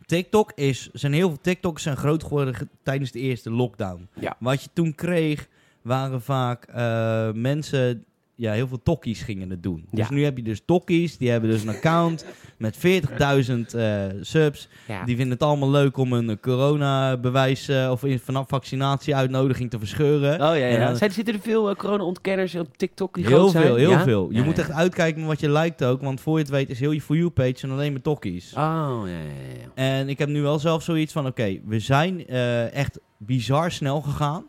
[SPEAKER 1] TikTok is, zijn heel veel TikToks zijn groot geworden ge- tijdens de eerste lockdown.
[SPEAKER 2] Ja.
[SPEAKER 1] Wat je toen kreeg, waren vaak eh, mensen, ja, heel veel tokkies gingen het doen. Dus
[SPEAKER 2] Ja.
[SPEAKER 1] nu heb je dus tokkies, die hebben dus een account met 40.000 eh, subs.
[SPEAKER 2] ja.
[SPEAKER 1] Die vinden het allemaal leuk om een eh, coronabewijs eh, of in- vanaf vaccinatieuitnodiging te verscheuren.
[SPEAKER 2] Oh ja, ja.
[SPEAKER 1] En dan-
[SPEAKER 2] Zijn, zitten er veel eh, corona-ontkenners op TikTok die
[SPEAKER 1] heel
[SPEAKER 2] groot zijn?
[SPEAKER 1] veel, heel
[SPEAKER 2] Ja?
[SPEAKER 1] veel. Je
[SPEAKER 2] Ja,
[SPEAKER 1] moet
[SPEAKER 2] ja.
[SPEAKER 1] echt uitkijken wat je liked ook, want voor je het weet is heel je For You-page en alleen maar tokkies.
[SPEAKER 2] Oh, ja, ja, ja, ja.
[SPEAKER 1] En ik heb nu wel zelf zoiets van, oké, we zijn eh, echt bizar snel gegaan.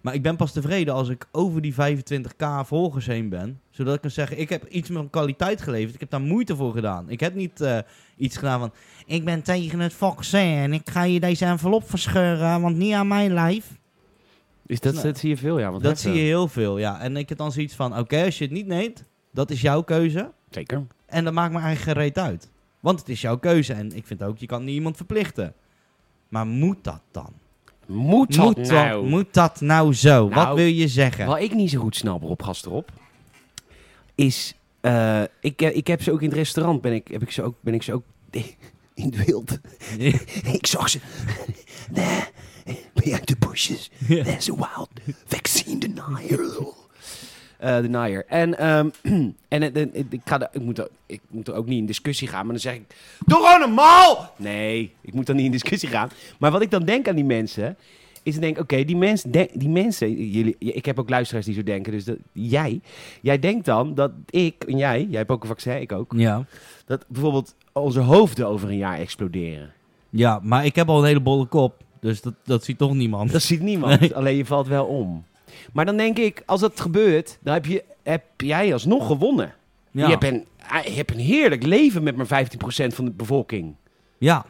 [SPEAKER 1] Maar ik ben pas tevreden als ik over die 25k volgers heen ben. Zodat ik kan zeggen, ik heb iets van kwaliteit geleverd. Ik heb daar moeite voor gedaan. Ik heb niet eh, iets gedaan van, ik ben tegen het vaccin en ik ga je deze envelop verscheuren, want niet aan mijn lijf.
[SPEAKER 2] Is dat,
[SPEAKER 1] Nou,
[SPEAKER 2] dat zie je veel, ja. want
[SPEAKER 1] Dat
[SPEAKER 2] echt,
[SPEAKER 1] zie
[SPEAKER 2] eh,
[SPEAKER 1] je heel veel, ja. En ik heb dan zoiets van, oké, als je het niet neemt, dat is jouw keuze.
[SPEAKER 2] Zeker.
[SPEAKER 1] En dat maakt me eigenlijk geen reet uit. Want het is jouw keuze. En ik vind ook, je kan niet iemand verplichten. Maar moet dat dan?
[SPEAKER 2] Moet dat
[SPEAKER 1] moet,
[SPEAKER 2] nou?
[SPEAKER 1] dat, moet dat nou zo?
[SPEAKER 2] Nou,
[SPEAKER 1] Wat wil je zeggen?
[SPEAKER 2] Wat ik niet zo goed snap, Rob Gasterop, is... eh, ik, eh, ik heb ze ook in het restaurant, ben ik, heb ik ze ook, ben ik ze ook in het wild. ik zag ze. There, behind the bushes,
[SPEAKER 1] Ja.
[SPEAKER 2] there's a wild vaccine denier. Eh denier. En, ehm, en het- het- het- ik, ga er, ik, moet er, ik moet er ook niet in discussie gaan, maar dan zeg ik... Doe gewoon normaal! Nee, ik moet dan niet in discussie gaan. Maar wat ik dan denk aan die mensen, is dan denk ik, oké, die, mens, denk- die mensen... Jullie, ik heb ook luisteraars die zo denken, dus dat, jij... Jij denkt dan dat ik en jij, jij hebt ook een vaccin, ik ook...
[SPEAKER 1] Ja.
[SPEAKER 2] Dat bijvoorbeeld onze hoofden over een jaar exploderen.
[SPEAKER 1] ja, maar ik heb al een hele bolle kop. Dus dat, dat ziet toch niemand.
[SPEAKER 2] Dat ziet niemand, alleen je valt wel om. Maar dan denk ik, als dat gebeurt, dan heb, je, heb jij alsnog gewonnen.
[SPEAKER 1] ja.
[SPEAKER 2] Je, hebt een, ah, je hebt een heerlijk leven met maar 15% van de bevolking.
[SPEAKER 1] ja.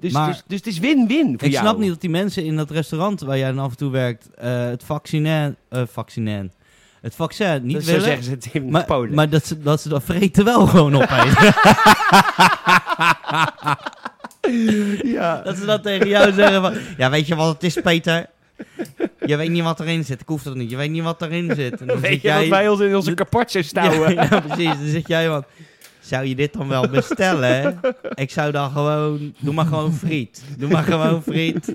[SPEAKER 2] Dus,
[SPEAKER 1] Maar-
[SPEAKER 2] dus, dus het is win-win voor
[SPEAKER 1] Ik
[SPEAKER 2] jou.
[SPEAKER 1] snap niet dat die mensen in dat restaurant waar jij dan af en toe werkt... eh, het vaccin... eh vaccin... Het vaccin niet
[SPEAKER 2] dat Dus zo
[SPEAKER 1] willen.
[SPEAKER 2] zeggen ze het in
[SPEAKER 1] Maar,
[SPEAKER 2] Polen.
[SPEAKER 1] maar dat, ze, dat ze dat vreten wel gewoon opeten.
[SPEAKER 2] ja.
[SPEAKER 1] dat ze dat tegen jou zeggen van... Ja, weet je wat het is, Peter? Je weet niet wat erin zit. Ik hoef dat niet. Je weet niet wat erin zit. En dan
[SPEAKER 2] Weet
[SPEAKER 1] zit
[SPEAKER 2] je wat wij ons in onze carpaccio stouwen?
[SPEAKER 1] Ja, ja, precies. Dan zit jij van... Zou je dit dan wel bestellen? Ik zou dan gewoon... Doe maar gewoon friet. Doe maar gewoon friet.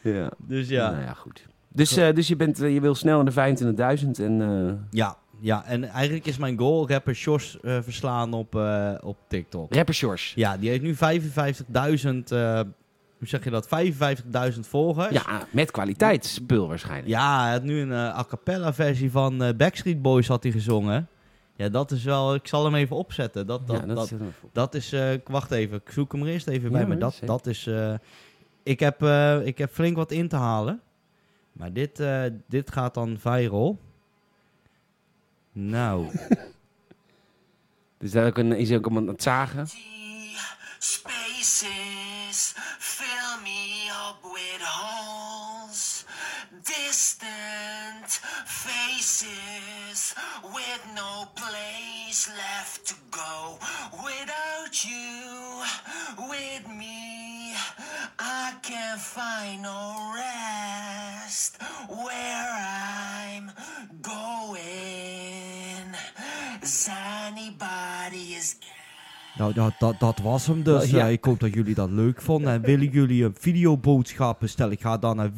[SPEAKER 2] Ja.
[SPEAKER 1] Dus
[SPEAKER 2] Nou
[SPEAKER 1] ja.
[SPEAKER 2] ja, goed. Dus, eh, dus je, bent, eh, je wil snel naar de 25.000 en... eh,
[SPEAKER 1] Ja, ja. En eigenlijk is mijn goal rapper Sjors eh, verslaan op, eh, op TikTok.
[SPEAKER 2] rapper Shores.
[SPEAKER 1] Ja, die heeft nu 55.000, eh, hoe zeg je dat? 55.000 volgers.
[SPEAKER 2] Ja, met kwaliteitsspul waarschijnlijk.
[SPEAKER 1] Ja, hij had nu een eh, a cappella versie van eh, Backstreet Boys had hij gezongen. Ja, dat is wel. Ik zal hem even opzetten. Dat, dat,
[SPEAKER 2] Ja,
[SPEAKER 1] dat,
[SPEAKER 2] dat
[SPEAKER 1] dat,
[SPEAKER 2] zit er wel voor.
[SPEAKER 1] is. eh, ik wacht even. Ik zoek hem er eerst even
[SPEAKER 2] Ja,
[SPEAKER 1] bij.
[SPEAKER 2] hoor,
[SPEAKER 1] Maar dat,
[SPEAKER 2] zeker.
[SPEAKER 1] dat is. eh, ik, heb, eh, ik heb flink wat in te halen. Maar dit, eh, dit gaat dan viral. Nou.
[SPEAKER 2] Dus daar ook een, is ook iemand aan het zagen.
[SPEAKER 3] Spaces fill me up with holes, distant faces with no place left to go. Without you, with me, I can't final rest where I'm going. Zanybody is
[SPEAKER 1] Nou, ja, dat, dat was hem dus.
[SPEAKER 2] Ja.
[SPEAKER 1] Eh, ik hoop dat jullie dat leuk vonden. En willen jullie een videoboodschap bestellen? Ga dan naar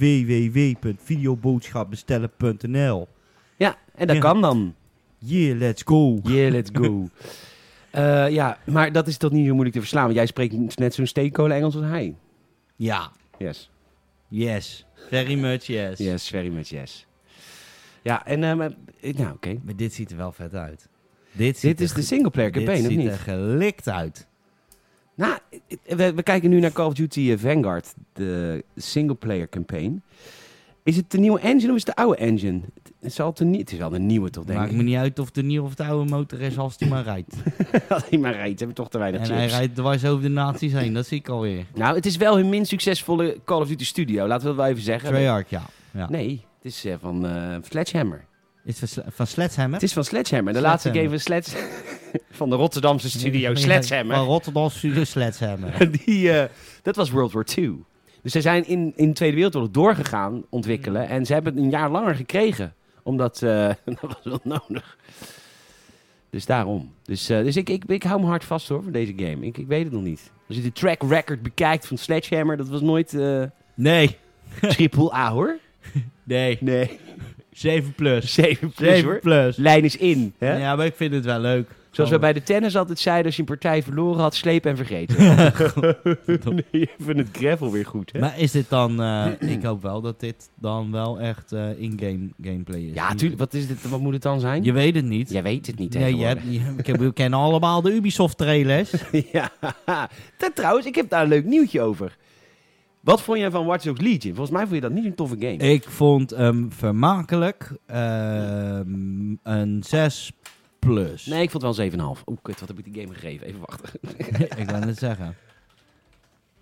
[SPEAKER 1] www.videoboodschapbestellen.nl
[SPEAKER 2] Ja, en dat
[SPEAKER 1] Ja.
[SPEAKER 2] kan dan.
[SPEAKER 1] Yeah, let's go.
[SPEAKER 2] Yeah, let's go. Eh, ja, maar dat is toch niet zo moeilijk te verslaan, want jij spreekt net zo'n steenkolen Engels als hij.
[SPEAKER 1] Ja.
[SPEAKER 2] Yes.
[SPEAKER 1] Yes. Very much yes.
[SPEAKER 2] Yes, very much yes. Ja, en ehm, eh, nou oké.
[SPEAKER 1] Maar dit ziet er wel vet uit. Dit,
[SPEAKER 2] Dit is de singleplayer campaign, of
[SPEAKER 1] Dit ziet
[SPEAKER 2] niet?
[SPEAKER 1] er gelikt uit.
[SPEAKER 2] Nou, we, we kijken nu naar Call of Duty eh, Vanguard, de singleplayer campaign. Is het de nieuwe engine of is het de oude engine? Het- Het, zal te nie- het is wel de nieuwe toch, denk
[SPEAKER 1] Maakt
[SPEAKER 2] ik.
[SPEAKER 1] me niet uit of de nieuwe of de oude motor is als die maar rijdt.
[SPEAKER 2] Alleen maar rijdt, hebben we toch te weinig
[SPEAKER 1] En
[SPEAKER 2] chips.
[SPEAKER 1] hij rijdt dwars over de nazi's heen, dat zie ik alweer.
[SPEAKER 2] Nou, het is wel hun minst succesvolle Call of Duty studio, laten we dat wel even zeggen.
[SPEAKER 1] Treyarch, ja. ja.
[SPEAKER 2] Nee, het is eh, van eh, Sledgehammer.
[SPEAKER 1] Is van, Sle- van Sledgehammer?
[SPEAKER 2] Het is van Sledgehammer, de laatste game van Sleds... van de Rotterdamse studio Sledgehammer.
[SPEAKER 1] Van Rotterdam studio Sledgehammer.
[SPEAKER 2] Die, eh, dat was World War II. Dus zij zijn in, in de Tweede Wereldoorlog doorgegaan ontwikkelen. En ze hebben het een jaar langer gekregen. Omdat, eh, dat was wel nodig. Dus daarom. Dus, eh, dus ik, ik, ik hou me hard vast hoor, voor deze game. Ik, ik weet het nog niet. Als je de track record bekijkt van Sledgehammer, dat was nooit eh
[SPEAKER 1] Nee,
[SPEAKER 2] triple A hoor.
[SPEAKER 1] nee.
[SPEAKER 2] Nee.
[SPEAKER 1] 7 plus.
[SPEAKER 2] 7 plus
[SPEAKER 1] 7
[SPEAKER 2] hoor.
[SPEAKER 1] plus.
[SPEAKER 2] Lijn is in. Hè?
[SPEAKER 1] Ja, maar ik vind het wel leuk.
[SPEAKER 2] Zoals we
[SPEAKER 1] Gewoon-
[SPEAKER 2] bij de tennis altijd zeiden, als je een partij verloren had, sleep en vergeten. je vindt het gravel weer goed, hè?
[SPEAKER 1] Maar is dit dan... eh, ik hoop wel dat dit dan wel echt eh, in-game gameplay is.
[SPEAKER 2] Ja,
[SPEAKER 1] Niet-
[SPEAKER 2] tuurlijk. Wat, is dit, wat moet het dan zijn?
[SPEAKER 1] Je weet het niet.
[SPEAKER 2] Jij weet het niet, hè?
[SPEAKER 1] Nee, je hebt, je- ik heb- we kennen allemaal de Ubisoft trailers.
[SPEAKER 2] ja. Dat, trouwens, ik heb daar een leuk nieuwtje over. Wat vond jij van Watch Dogs Legion? Volgens mij vond je dat niet een toffe game.
[SPEAKER 1] Ik vond hem vermakelijk. Ehm, een 6 plus.
[SPEAKER 2] Nee, ik vond het wel een 7,5. Oeh, kut, wat heb ik die game gegeven? Even wachten.
[SPEAKER 1] ik wou net zeggen.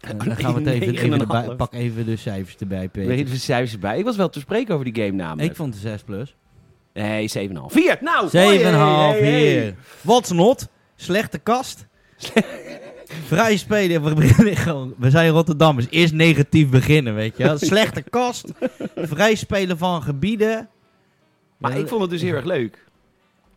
[SPEAKER 1] Eh,
[SPEAKER 2] nee,
[SPEAKER 1] dan gaan we het even, even
[SPEAKER 2] 9,5.
[SPEAKER 1] erbij, pak even de cijfers erbij, Peter.
[SPEAKER 2] Weet je de cijfers erbij? Ik was wel te spreken over die game namelijk.
[SPEAKER 1] Ik vond de 6 plus. 7,5
[SPEAKER 2] Nee, 7,5. 4! Nou! hoi, hey, hey.
[SPEAKER 1] hier. What's not? Slechte kast. Vrij spelen. We, beginnen gewoon- we zijn Rotterdammers. Eerst negatief beginnen, weet je wel. Slechte kast. Vrij spelen van gebieden.
[SPEAKER 2] Maar
[SPEAKER 1] Ja,
[SPEAKER 2] ik vond het dus heel erg leuk.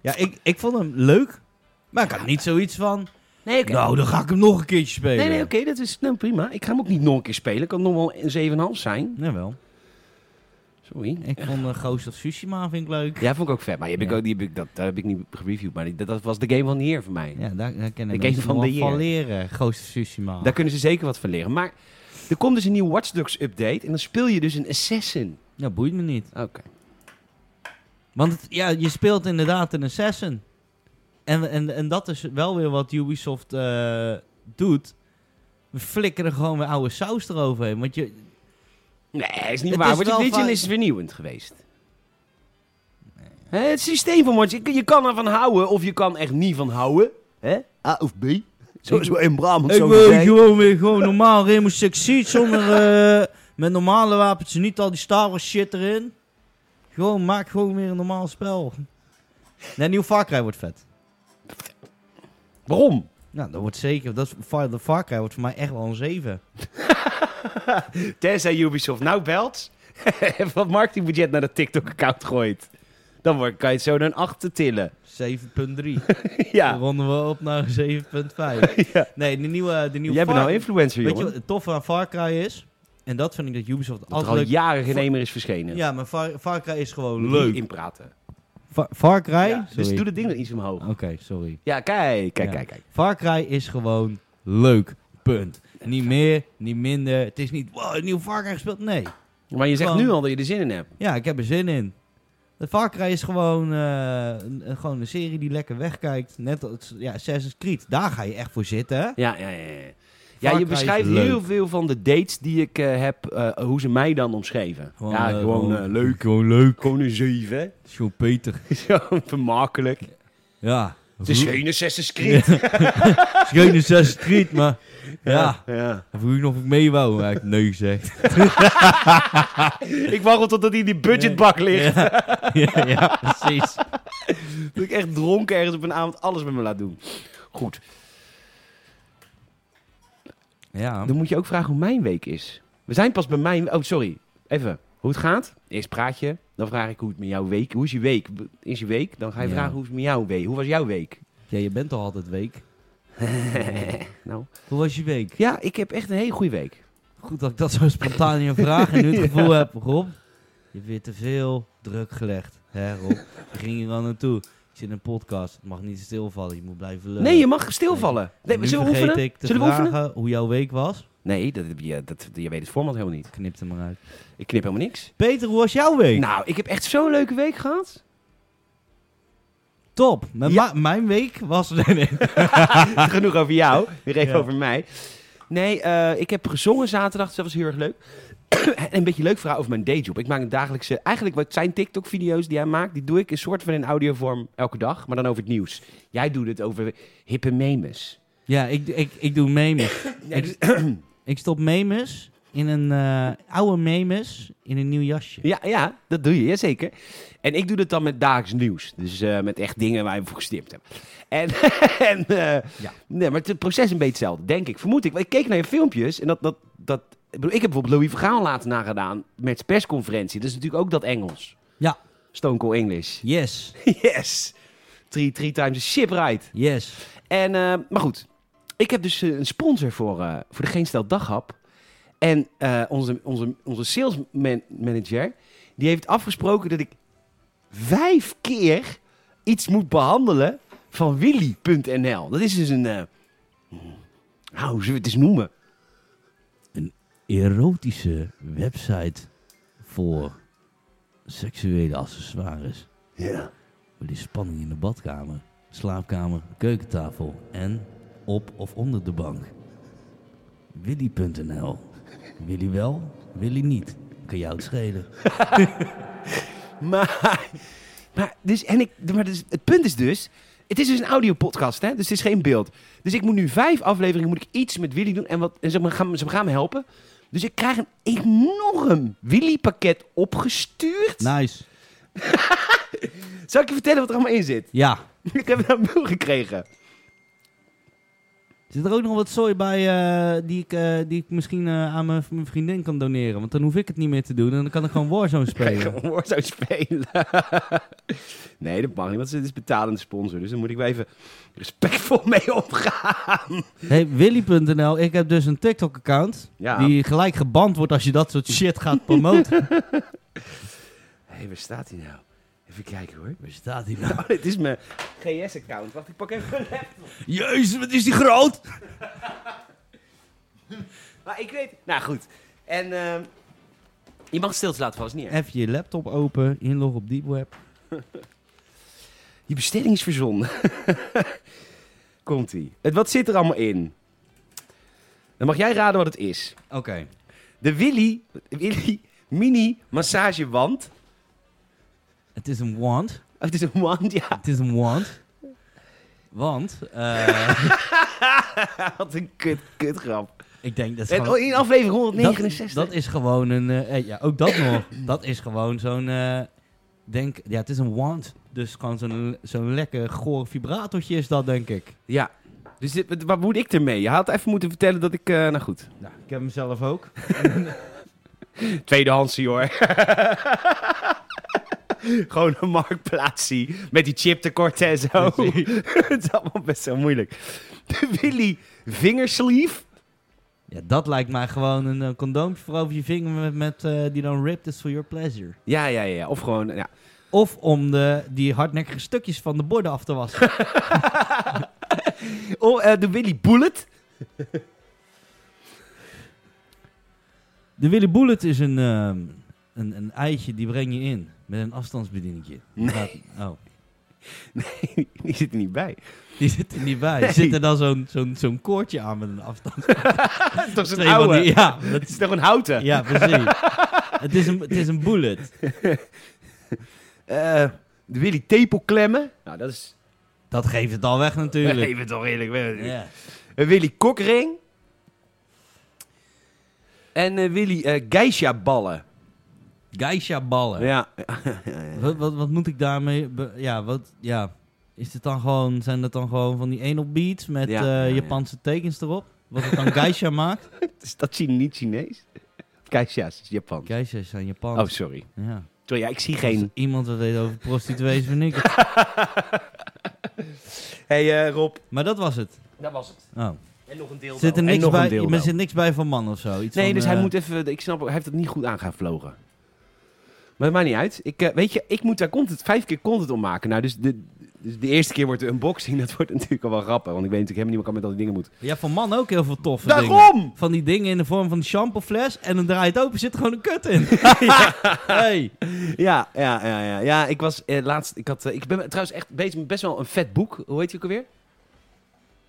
[SPEAKER 1] Ja, ik, ik vond hem leuk. Maar ik had niet zoiets van...
[SPEAKER 2] Nee,
[SPEAKER 1] Nou, dan ga ik hem nog een keertje spelen.
[SPEAKER 2] Nee, nee, oké, dat is nou, prima. Ik ga hem ook niet nog een keer spelen. Kan nog wel een 7,5 zijn.
[SPEAKER 1] Jawel.
[SPEAKER 2] Sorry.
[SPEAKER 1] Ik vond uh, Ghost of Tsushima vind ik leuk.
[SPEAKER 2] Ja, vond ik ook vet. Maar die heb ik
[SPEAKER 1] Ja.
[SPEAKER 2] ook, die heb ik, dat, dat heb ik niet gereviewd. Maar die- dat, dat was de game van de heer voor mij.
[SPEAKER 1] Ja, daar, daar kennen
[SPEAKER 2] Ik
[SPEAKER 1] mensen
[SPEAKER 2] ken van
[SPEAKER 1] nog
[SPEAKER 2] de
[SPEAKER 1] wel van
[SPEAKER 2] Year.
[SPEAKER 1] leren. Ghost of Tsushima.
[SPEAKER 2] Daar kunnen ze zeker wat van leren. Maar er komt dus een nieuwe Watch Dogs update. En dan speel je dus een assassin.
[SPEAKER 1] Ja, Nou, boeit me niet.
[SPEAKER 2] Oké.
[SPEAKER 1] Want het- ja, je speelt inderdaad een assassin. En, en, en dat is wel weer wat Ubisoft eh, doet. We flikkeren gewoon weer oude saus eroverheen. Want je...
[SPEAKER 2] Nee, is niet
[SPEAKER 1] Het
[SPEAKER 2] waar.
[SPEAKER 1] is
[SPEAKER 2] Watch
[SPEAKER 1] wel
[SPEAKER 2] Dogs Legion
[SPEAKER 1] van-
[SPEAKER 2] is vernieuwend geweest. Hè, het systeem van Watch... Je, je kan ervan houden of je kan echt niet van houden. Hè? A of B. Zoals we in Brabant zo
[SPEAKER 1] gewoon weer gewoon normaal Rainbow Six Siege zonder... eh, met normale wapens, niet al die Star Wars shit erin. Gewoon, maak gewoon weer een normaal spel. Nee, nieuw Far Cry wordt vet.
[SPEAKER 2] Waarom?
[SPEAKER 1] Nou, dat wordt zeker. Dat is, Far- de Far Cry wordt voor mij echt wel een 7.
[SPEAKER 2] Tenzij Ubisoft nou belt en van marketingbudget naar dat TikTok-account gooit. Dan wordt- kan je het zo naar een 8 tillen.
[SPEAKER 1] 7.3. Dan
[SPEAKER 2] ja.
[SPEAKER 1] ronden we op naar een 7.5.
[SPEAKER 2] Ja.
[SPEAKER 1] Nee, de nieuwe, de nieuwe
[SPEAKER 2] Jij bent
[SPEAKER 1] Far-
[SPEAKER 2] nou influencer,
[SPEAKER 1] Weet je
[SPEAKER 2] jongen.
[SPEAKER 1] wat het toffe aan Far Cry is? En dat vind ik dat Ubisoft
[SPEAKER 2] Dat er
[SPEAKER 1] altijd
[SPEAKER 2] al
[SPEAKER 1] leuk...
[SPEAKER 2] jaren geen emmer is verschenen.
[SPEAKER 1] Ja, maar Far, Far Cry is gewoon
[SPEAKER 2] Moet
[SPEAKER 1] leuk.
[SPEAKER 2] niet Inpraten.
[SPEAKER 1] Fa- Far Cry?
[SPEAKER 2] Ja, dus
[SPEAKER 1] Sorry.
[SPEAKER 2] doe dat ding dan iets omhoog.
[SPEAKER 1] Oké, sorry.
[SPEAKER 2] Ja, kijk, kijk,
[SPEAKER 1] Ja.
[SPEAKER 2] kijk, kijk.
[SPEAKER 1] Far Cry is gewoon leuk. Punt. Niet meer, niet minder. Het is niet, wow, een nieuw Far Cry gespeeld. Nee.
[SPEAKER 2] Maar je zegt
[SPEAKER 1] Gewoon-
[SPEAKER 2] nu al dat je er zin in hebt.
[SPEAKER 1] Ja, ik heb er zin in. De Far Cry is gewoon, eh, een, een- gewoon een serie die lekker wegkijkt. Net als ja, Assassin's Creed. Daar ga je echt voor zitten. hè?
[SPEAKER 2] Ja, ja, ja. ja.
[SPEAKER 1] Far
[SPEAKER 2] Ja,
[SPEAKER 1] Cry
[SPEAKER 2] je
[SPEAKER 1] is
[SPEAKER 2] beschrijft
[SPEAKER 1] leuk.
[SPEAKER 2] heel veel van de dates die ik eh, heb, eh, hoe ze mij dan omschreven.
[SPEAKER 1] Gewoon,
[SPEAKER 2] ja,
[SPEAKER 1] eh,
[SPEAKER 2] gewoon
[SPEAKER 1] gewoon-
[SPEAKER 2] eh, leuk. Gewoon leuk. Gewoon een 7.
[SPEAKER 1] Zo Peter.
[SPEAKER 2] Zo vermakelijk. Hm.
[SPEAKER 1] Ja.
[SPEAKER 2] Het is geen Assassin's Creed.
[SPEAKER 1] Het is geen Assassin's Creed, maar ja.
[SPEAKER 2] ja.
[SPEAKER 1] Hij Vroeg nog of ik mee wou, maar ik nee zeg.
[SPEAKER 2] Ik wacht totdat hij in die budgetbak ligt.
[SPEAKER 1] ja, ja, precies.
[SPEAKER 2] Dat ik echt dronken ergens op een avond alles met me laat doen. Goed.
[SPEAKER 1] Ja.
[SPEAKER 2] Dan moet je ook vragen hoe mijn week is. We zijn pas bij mijn... Oh, sorry. Even. Hoe het gaat? Eerst praat je. Dan vraag ik hoe het met jouw week... Hoe is je week? B- Is je week? Dan ga je
[SPEAKER 1] Ja.
[SPEAKER 2] vragen hoe is het met jouw week? Hoe was jouw week?
[SPEAKER 1] Ja, je bent al altijd week.
[SPEAKER 2] nou,
[SPEAKER 1] Hoe was je week?
[SPEAKER 2] ja, ik heb echt een hele goede week.
[SPEAKER 1] Goed dat ik dat zo spontaan in je vraag en nu het gevoel heb, Rob, je hebt weer te veel druk gelegd. Hè Rob, je ging hier al naartoe. Je zit in een podcast, het mag niet stilvallen, je moet blijven lullen.
[SPEAKER 2] Nee, je mag stilvallen.
[SPEAKER 1] En
[SPEAKER 2] Nee,
[SPEAKER 1] Eh, nu
[SPEAKER 2] zullen we
[SPEAKER 1] vergeet
[SPEAKER 2] oefenen?
[SPEAKER 1] ik te
[SPEAKER 2] Zullen we
[SPEAKER 1] vragen
[SPEAKER 2] oefenen?
[SPEAKER 1] hoe jouw week was.
[SPEAKER 2] Nee, dat, heb je, dat, je weet het format helemaal niet.
[SPEAKER 1] Knip hem maar uit.
[SPEAKER 2] Ik knip helemaal niks.
[SPEAKER 1] Peter, hoe was jouw week?
[SPEAKER 2] Nou, ik heb echt zo'n leuke week gehad.
[SPEAKER 1] Top. Mijn,
[SPEAKER 2] Ja.
[SPEAKER 1] ma- mijn week was... Nee, nee.
[SPEAKER 2] Genoeg over jou, weer even
[SPEAKER 1] Ja.
[SPEAKER 2] over mij. Nee, eh, ik heb gezongen zaterdag, dus dat was heel erg leuk. en een beetje leuk verhaal over mijn dayjob. Ik maak een dagelijkse... Eigenlijk wat zijn TikTok-video's die hij maakt, die doe ik een soort van in audiovorm elke dag. Maar dan over het nieuws. Jij doet het over hippe memes.
[SPEAKER 1] Ja, ik, ik, ik doe memes. ik, ik stop memes in een eh, oude memes in een nieuw jasje.
[SPEAKER 2] Ja, ja, dat doe je, ja, zeker. En ik doe dat dan met dagelijks nieuws. Dus eh, met echt dingen waar je voor gestipt hebt. En, en eh,
[SPEAKER 1] Ja.
[SPEAKER 2] nee, maar het proces is een beetje hetzelfde, denk ik. Vermoed ik. Want ik keek naar je filmpjes en dat... dat, dat ik, bedoel, ik heb bijvoorbeeld Louis Vergaal laten nagedaan met zijn persconferentie. Dat is natuurlijk ook dat Engels.
[SPEAKER 1] Ja.
[SPEAKER 2] Stone Cold English.
[SPEAKER 1] Yes.
[SPEAKER 2] Yes! Three, three times a ship right.
[SPEAKER 1] Yes.
[SPEAKER 2] En, eh, maar goed, ik heb dus eh, een sponsor voor, eh, voor de Geen Stel Daghap. En eh, onze, onze, onze sales man- manager, die heeft afgesproken dat ik vijf keer iets moet behandelen van willy.nl. Dat is dus een, eh, nou, hoe zullen we het eens noemen?
[SPEAKER 1] Erotische website voor seksuele accessoires.
[SPEAKER 2] Ja.
[SPEAKER 1] Voor die spanning in de badkamer, slaapkamer, keukentafel en op of onder de bank. Willy.nl. Willy wel, Willy niet. Kan jou het schelen.
[SPEAKER 2] Maar, maar, dus, en ik, maar dus, het punt is dus... Het is dus een audiopodcast, hè? dus het is geen beeld. Dus ik moet nu vijf afleveringen moet ik iets met Willy doen. En, wat, en ze, gaan, ze gaan me helpen. Dus ik krijg een enorm Willy-pakket opgestuurd.
[SPEAKER 1] Nice.
[SPEAKER 2] Zal ik je vertellen wat er allemaal in zit?
[SPEAKER 1] Ja.
[SPEAKER 2] Ik heb het aan mail gekregen.
[SPEAKER 1] Zit er ook nog wat zooi bij eh, die, ik, eh, die ik misschien eh, aan mijn mijn vriendin kan doneren? Want dan hoef ik het niet meer te doen en dan kan ik gewoon Warzone
[SPEAKER 2] Ik
[SPEAKER 1] spelen.
[SPEAKER 2] ga gewoon Warzone spelen. nee, dat mag niet, want het is betalende sponsor. Dus daar moet ik wel even respectvol mee omgaan.
[SPEAKER 1] Hey, Willy.nl, ik heb dus een TikTok-account.
[SPEAKER 2] Ja.
[SPEAKER 1] Die gelijk geband wordt als je dat soort shit gaat promoten.
[SPEAKER 2] Hé, hey, waar staat hij nou? Even kijken hoor.
[SPEAKER 1] Waar staat die nou?
[SPEAKER 2] Oh, dit is mijn GS-account. Wacht, ik pak even een laptop.
[SPEAKER 1] Jezus, wat is die groot!
[SPEAKER 2] Maar ik weet... Nou, goed. En ehm, je mag het stil laten vallen, is niet erg.
[SPEAKER 1] Even je laptop open, inlog op Deep Web.
[SPEAKER 2] Je bestelling is verzonnen. Komt-ie. Het- Wat zit er allemaal in? Dan mag jij raden wat het is.
[SPEAKER 1] Oké.
[SPEAKER 2] De Willy, Willy Mini Massagewand.
[SPEAKER 1] Het is een want.
[SPEAKER 2] Oh, het is een wand, ja.
[SPEAKER 1] Het is een want. Want, eh,
[SPEAKER 2] Wat een kut, kut grap.
[SPEAKER 1] ik denk dat is
[SPEAKER 2] En oh,
[SPEAKER 1] gewoon...
[SPEAKER 2] in aflevering
[SPEAKER 1] Dat,
[SPEAKER 2] 169.
[SPEAKER 1] dat is gewoon een... eh, eh, ja, ook dat nog. Dat is gewoon zo'n... eh, denk, ja, het is een want. Dus gewoon zo'n zo'n lekker goor vibratortje is dat, denk ik.
[SPEAKER 2] Ja. Dus dit, wat- wat moet ik ermee? Je had even moeten vertellen dat ik... eh, nou goed.
[SPEAKER 1] Nou, ik heb hem zelf ook.
[SPEAKER 2] Tweedehandsie hoor. Gewoon een marktplaatsie met die chiptekort en zo. Het is allemaal best wel moeilijk. De Willy Vingersleeve.
[SPEAKER 1] Ja, dat lijkt mij gewoon een eh, condoompje voor over je vinger met, met eh, die dan ripped is for your pleasure.
[SPEAKER 2] Ja, ja, ja. Of gewoon, ja.
[SPEAKER 1] Of om de, die hardnekkige stukjes van de borden af te wassen.
[SPEAKER 2] Oh, eh, de Willy Bullet.
[SPEAKER 1] De Willy Bullet is een, ehm, een, een eitje, die breng je in met een afstandsbedieningetje.
[SPEAKER 2] Nee.
[SPEAKER 1] oh,
[SPEAKER 2] Die zit er niet bij.
[SPEAKER 1] die zit er niet bij.
[SPEAKER 2] Nee.
[SPEAKER 1] Er zit er dan zo'n zo'n zo'n koordje aan met een afstand.
[SPEAKER 2] Dat is toch zo'n
[SPEAKER 1] Twee van
[SPEAKER 2] oude.
[SPEAKER 1] die- ja,
[SPEAKER 2] Het is
[SPEAKER 1] dat,
[SPEAKER 2] toch een houten?
[SPEAKER 1] ja, precies. het, is een, het is een bullet.
[SPEAKER 2] Eh, de Willy Tepelklemmen. Nou, dat is...
[SPEAKER 1] Dat geeft het al weg natuurlijk.
[SPEAKER 2] Even toch eerlijk. weg.
[SPEAKER 1] Ja.
[SPEAKER 2] Een Eh, Willy Kokring. En eh, Willy eh Geisha Ballen.
[SPEAKER 1] Geisha ballen.
[SPEAKER 2] Ja.
[SPEAKER 1] Wat, wat, wat moet ik daarmee... be- ja, wat... Ja. Is dit dan gewoon... Zijn dat dan gewoon van die anal beats met
[SPEAKER 2] Ja,
[SPEAKER 1] eh,
[SPEAKER 2] ja, ja.
[SPEAKER 1] Japanse tekens erop? Wat het dan geisha maakt?
[SPEAKER 2] Is dat Chine- niet Chinees? Keisha's is Japan.
[SPEAKER 1] Keizers zijn Japan.
[SPEAKER 2] Oh, sorry.
[SPEAKER 1] ja.
[SPEAKER 2] Sorry, ja, ik zie
[SPEAKER 1] Als
[SPEAKER 2] geen...
[SPEAKER 1] iemand wat weet over prostituees, vind ik het.
[SPEAKER 2] hey, eh, Rob.
[SPEAKER 1] Maar dat was het.
[SPEAKER 2] Dat was het.
[SPEAKER 1] Oh.
[SPEAKER 2] En nog een deel.
[SPEAKER 1] Zit er niks,
[SPEAKER 2] nog
[SPEAKER 1] bij,
[SPEAKER 2] een deel.
[SPEAKER 1] maar zit niks bij van man of zo? Iets
[SPEAKER 2] Nee,
[SPEAKER 1] van,
[SPEAKER 2] dus hij
[SPEAKER 1] eh,
[SPEAKER 2] moet even... Ik snap, hij heeft het niet goed aangevlogen. Maar het maakt niet uit. Ik, eh, weet je, ik moet daar content, vijf keer content om maken. Nou, dus de, dus de eerste keer wordt de unboxing. Dat wordt natuurlijk al wel grappig. Want ik weet natuurlijk helemaal niet wat ik met al die dingen moet.
[SPEAKER 1] Ja, van man ook heel veel toffe dingen.
[SPEAKER 2] Daarom!
[SPEAKER 1] Van die dingen in de vorm van een shampoofles en dan draai je het open, zit er gewoon een kut in. Hey.
[SPEAKER 2] Ja, ja, ja, ja. ja ik was eh, laatst... Ik, had, eh, ik ben trouwens echt bezig met best wel een vet boek. Hoe heet die ook alweer?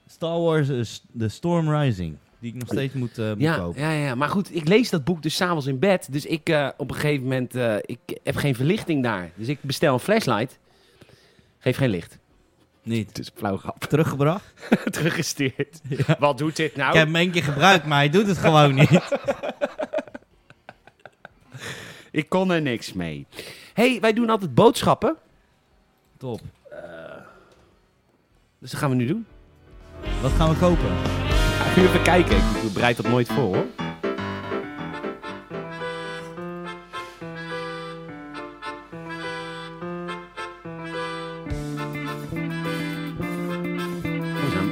[SPEAKER 1] Star Wars eh, S- The Storm Rising, die ik nog steeds moet, eh, moet
[SPEAKER 2] Ja,
[SPEAKER 1] kopen.
[SPEAKER 2] ja, ja, maar goed, ik lees dat boek dus s'avonds in bed. Dus ik eh, op een gegeven moment, eh, ik heb geen verlichting daar. Dus ik bestel een flashlight. Geef geen licht.
[SPEAKER 1] Niet.
[SPEAKER 2] Dus flauw grap.
[SPEAKER 1] Teruggebracht.
[SPEAKER 2] Teruggestuurd. Wat doet dit nou?
[SPEAKER 1] Ik heb hem één keer gebruikt, maar hij doet het gewoon niet.
[SPEAKER 2] Ik kon er niks mee. hey, wij doen altijd boodschappen.
[SPEAKER 1] Top.
[SPEAKER 2] Dus dat gaan we nu doen.
[SPEAKER 1] Wat gaan we kopen?
[SPEAKER 2] Ga nu even kijken. Ik bereid dat nooit voor, hoor. Oh, zo.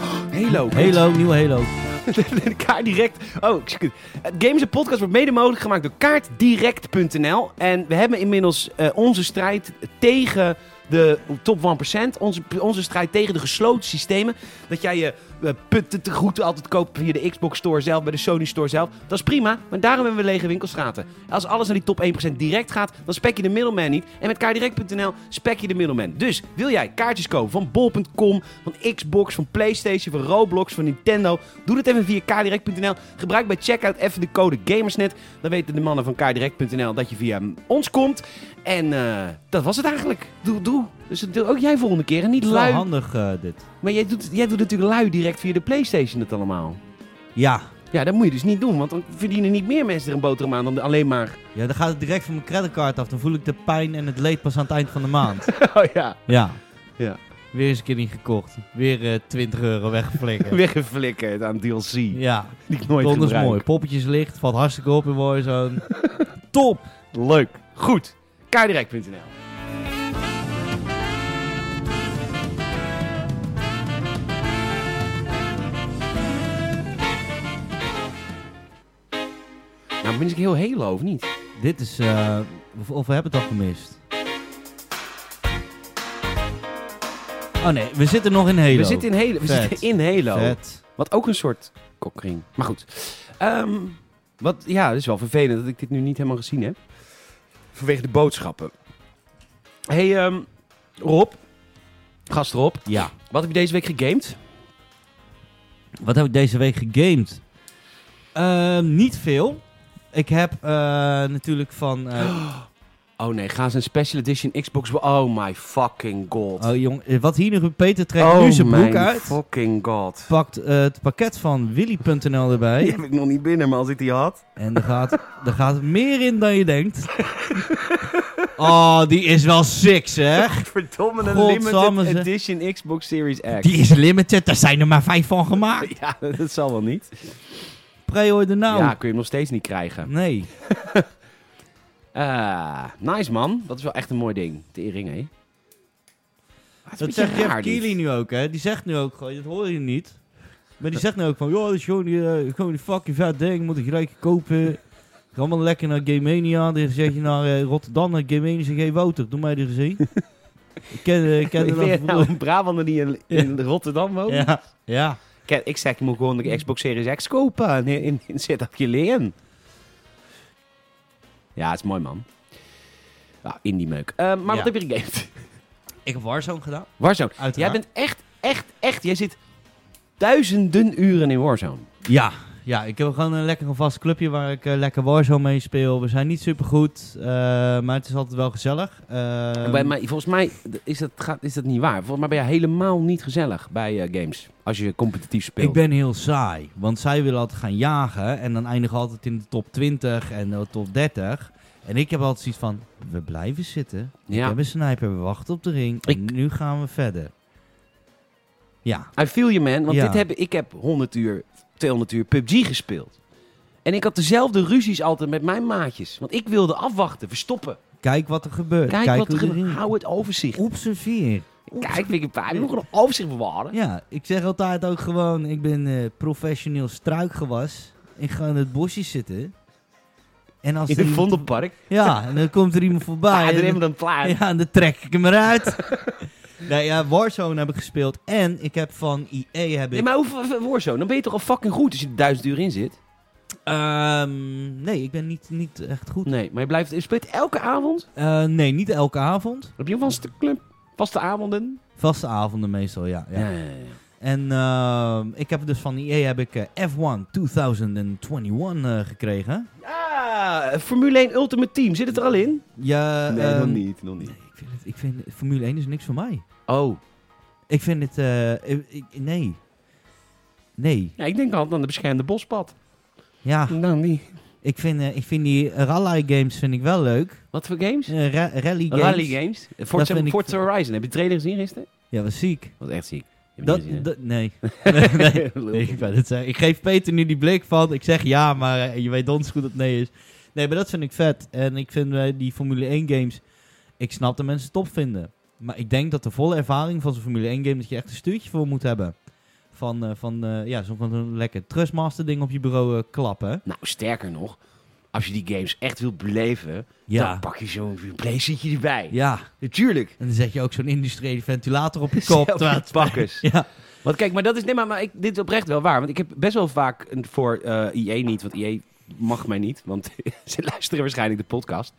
[SPEAKER 2] Oh, Halo.
[SPEAKER 1] Halo, nieuwe Halo.
[SPEAKER 2] Kaart Direct. Oh, excuus. Het Games en Podcast wordt mede mogelijk gemaakt door kaartdirect.nl. En we hebben inmiddels eh, onze strijd tegen de top 1%. Onze, onze strijd tegen de gesloten systemen. Dat jij je eh, punten te goed altijd koopt via de Xbox Store zelf, bij de Sony Store zelf. Dat is prima, maar daarom hebben we lege winkelstraten. Als alles naar die top 1% direct gaat, dan spek je de middleman niet. En met kaardirect.nl spek je de middleman. Dus wil jij kaartjes kopen van bol.com, van Xbox, van PlayStation, van Roblox, van Nintendo? Doe dat even via kaardirect.nl. Gebruik bij checkout even de code GAMERSNET. Dan weten de mannen van kaardirect.nl dat je via mm, ons komt. En eh, dat was het eigenlijk. Doe, doe. Dus dat doe ook jij volgende keer. En niet
[SPEAKER 1] Het is wel
[SPEAKER 2] lui.
[SPEAKER 1] handig, eh, dit.
[SPEAKER 2] Maar jij doet, jij doet natuurlijk lui direct via de PlayStation het allemaal.
[SPEAKER 1] Ja.
[SPEAKER 2] Ja, dat moet je dus niet doen, want dan verdienen niet meer mensen er een boterham aan dan alleen maar.
[SPEAKER 1] Ja, dan gaat het direct van mijn creditcard af. Dan voel ik de pijn en het leed pas aan het eind van de maand.
[SPEAKER 2] Oh ja.
[SPEAKER 1] ja.
[SPEAKER 2] Ja.
[SPEAKER 1] Weer eens een keer niet gekocht. Weer eh, 20 euro weggeflikkerd.
[SPEAKER 2] Weggeflikkerd aan DLC.
[SPEAKER 1] Ja,
[SPEAKER 2] Die ik nooit
[SPEAKER 1] donders
[SPEAKER 2] gebruik.
[SPEAKER 1] mooi. Poppetjes licht, valt hartstikke op in Warzone. Top!
[SPEAKER 2] Leuk. Goed. Kaardirect.nl Nou, ben ik heel Halo, of niet?
[SPEAKER 1] Dit is... eh, of, of we hebben het al gemist. Oh nee, we zitten nog in Halo.
[SPEAKER 2] We zitten in Halo. We
[SPEAKER 1] Vet.
[SPEAKER 2] zitten in Halo.
[SPEAKER 1] Vet.
[SPEAKER 2] Wat ook een soort kokring. Maar goed. Ehm, wat, ja, het is wel vervelend dat ik dit nu niet helemaal gezien heb. Vanwege de boodschappen. hey, ehm, Rob. Gast Rob.
[SPEAKER 1] Ja.
[SPEAKER 2] Wat heb je deze week gegamed?
[SPEAKER 1] Wat heb ik deze week gegamed? Eh, niet veel. Ik heb eh, natuurlijk van... eh,
[SPEAKER 2] Oh nee, ga eens een special edition Xbox. Oh my fucking god.
[SPEAKER 1] Oh jong, eh, wat hier nu gebeurt, Peter trekt nu zijn broek uit.
[SPEAKER 2] fucking Oh, god.
[SPEAKER 1] Pakt eh, het pakket van willy.nl erbij.
[SPEAKER 2] Die heb ik nog niet binnen, maar als ik die had...
[SPEAKER 1] En er gaat, er gaat meer in dan je denkt. Oh, die is wel sick zeg.
[SPEAKER 2] Verdomme, een
[SPEAKER 1] Godsamme,
[SPEAKER 2] limited
[SPEAKER 1] zeg.
[SPEAKER 2] edition Xbox Series X.
[SPEAKER 1] Die is limited, daar zijn er maar vijf van gemaakt.
[SPEAKER 2] Ja, dat zal wel niet.
[SPEAKER 1] Pre-order nou.
[SPEAKER 2] Ja, kun je hem nog steeds niet krijgen.
[SPEAKER 1] Nee.
[SPEAKER 2] Ah, nice man. Dat is wel echt een mooi ding. Tering, hè? Ah, het is
[SPEAKER 1] Dat
[SPEAKER 2] een beetje
[SPEAKER 1] zegt Jeff
[SPEAKER 2] raar, dit.
[SPEAKER 1] Keighley nu ook, hè. Die zegt nu ook gewoon, dat hoor je niet. Maar die zegt nu ook van, joh, dat is gewoon die, eh, gewoon die fucking vet ding, moet ik gelijk kopen. Ga allemaal lekker naar Game Mania. Dan zeg je naar eh, Rotterdam, naar Game Mania. Zeg, hey Wouter, doe mij er eens een. ik ken, eh, ik ken
[SPEAKER 2] Ik
[SPEAKER 1] dat
[SPEAKER 2] ben je nou
[SPEAKER 1] vroeger.
[SPEAKER 2] een Brabander die in, in Rotterdam woont?
[SPEAKER 1] Ja, ja.
[SPEAKER 2] Kijk, Ik zeg, je moet gewoon de Xbox Series X kopen en in, in, in ZFJ leen. Ja, het is mooi, man. Ah, indie meuk. Eh, maar
[SPEAKER 1] Ja.
[SPEAKER 2] wat heb je gegamed?
[SPEAKER 1] Ik heb Warzone gedaan.
[SPEAKER 2] Warzone. Jij
[SPEAKER 1] Uiteraard.
[SPEAKER 2] bent echt, echt, echt... Jij zit duizenden uren in Warzone.
[SPEAKER 1] Ja, ja, ik heb gewoon een lekker een vast clubje waar ik eh, lekker Warzone mee speel. We zijn niet supergoed, eh maar het is altijd wel gezellig. Ehm,
[SPEAKER 2] Bij mij, volgens mij is dat, gaat, is dat niet waar. Volgens mij ben je helemaal niet gezellig bij eh, games. Als je competitief speelt.
[SPEAKER 1] ik ben heel saai, want zij willen altijd gaan jagen en dan eindigen we altijd in de top 20 en de top 30. En ik heb altijd zoiets van, we blijven zitten. We
[SPEAKER 2] Ja,
[SPEAKER 1] hebben een sniper, we wachten op de ring en
[SPEAKER 2] Ik-
[SPEAKER 1] nu gaan we verder. Ja,
[SPEAKER 2] I feel you man, want
[SPEAKER 1] Ja.
[SPEAKER 2] dit heb, ik heb 100 uur, 200 uur PUBG gespeeld. En ik had dezelfde ruzies altijd met mijn maatjes. Want ik wilde afwachten, verstoppen.
[SPEAKER 1] Kijk wat er gebeurt.
[SPEAKER 2] Kijk, wat er
[SPEAKER 1] hoe
[SPEAKER 2] gebeurt.
[SPEAKER 1] erin-
[SPEAKER 2] Hou het overzicht.
[SPEAKER 1] Observeer.
[SPEAKER 2] Kijk, Wikipedia. We moeten nog overzicht bewaren.
[SPEAKER 1] Ja, ik zeg altijd ook gewoon, ik ben eh, professioneel struikgewas. Ik ga in het bosje zitten. En als
[SPEAKER 2] In
[SPEAKER 1] er
[SPEAKER 2] het
[SPEAKER 1] iemand-
[SPEAKER 2] Vondelpark.
[SPEAKER 1] Ja, en dan komt er iemand voorbij.
[SPEAKER 2] Ja,
[SPEAKER 1] en
[SPEAKER 2] er
[SPEAKER 1] dan-
[SPEAKER 2] hebben we dan plaat.
[SPEAKER 1] Ja, en dan trek ik hem eruit. nee, ja, Warzone heb ik gespeeld. En ik heb van EA heb
[SPEAKER 2] Nee,
[SPEAKER 1] ik...
[SPEAKER 2] maar hoeveel Warzone? Dan ben je toch al fucking goed als je er duizend uur in zit?
[SPEAKER 1] Ehm, nee, ik ben niet, niet echt goed.
[SPEAKER 2] Nee, maar je blijft... Je speelt elke avond?
[SPEAKER 1] Eh, nee, niet elke avond.
[SPEAKER 2] Heb je een vaste club? Vaste avonden?
[SPEAKER 1] Vaste avonden meestal, ja. ja. En ehm, ik heb dus van EA heb ik eh, F1 2021 eh, gekregen.
[SPEAKER 2] Ja, Formule 1 Ultimate Team. Zit het er al in?
[SPEAKER 1] Ja, ehm,
[SPEAKER 2] niet. Nog niet.
[SPEAKER 1] Nee, ik vind, het, ik vind Formule 1 is niks voor mij.
[SPEAKER 2] Oh.
[SPEAKER 1] Ik vind het... eh, ik- ik- nee. Nee.
[SPEAKER 2] Ja, ik denk altijd aan de beschermde bospad.
[SPEAKER 1] Ja,
[SPEAKER 2] Dan die.
[SPEAKER 1] ik vind, eh, ik vind die rally games vind ik wel leuk.
[SPEAKER 2] Wat voor games?
[SPEAKER 1] Eh, ra- rally games.
[SPEAKER 2] Rally games. Forza,
[SPEAKER 1] vind ik-
[SPEAKER 2] Forza Horizon. Heb je de trailer gezien gisteren?
[SPEAKER 1] Ja, was ziek.
[SPEAKER 2] Dat was echt ziek. Heb je
[SPEAKER 1] Dat,
[SPEAKER 2] niet gezien, hè?
[SPEAKER 1] dat- nee. nee, nee. Nee, ik, wou net zeggen. ik geef Peter nu die blik van, ik zeg ja, maar eh, je weet ons goed dat het nee is. Nee, maar dat vind ik vet. En ik vind eh, die Formule 1 games, ik snap dat mensen het top vinden. Maar ik denk dat de volle ervaring van zo'n Formule 1 game, dat je echt een stuurtje voor moet hebben. Van, eh, van eh, ja, zo'n van zo'n lekker Trustmaster ding op je bureau eh, klappen.
[SPEAKER 2] Nou, sterker nog. Als je die games echt wilt beleven,
[SPEAKER 1] Ja.
[SPEAKER 2] dan pak je zo'n playseatje erbij.
[SPEAKER 1] Ja.
[SPEAKER 2] Natuurlijk.
[SPEAKER 1] En dan zet je ook zo'n industriële ventilator op je kop. terwijl het-
[SPEAKER 2] Zelfbakkers.
[SPEAKER 1] Ja.
[SPEAKER 2] Want kijk, maar dat is. Nee, maar, maar ik, dit is oprecht wel waar. Want ik heb best wel vaak een, voor eh IE niet. Want IE mag mij niet. Want ze luisteren waarschijnlijk de podcast.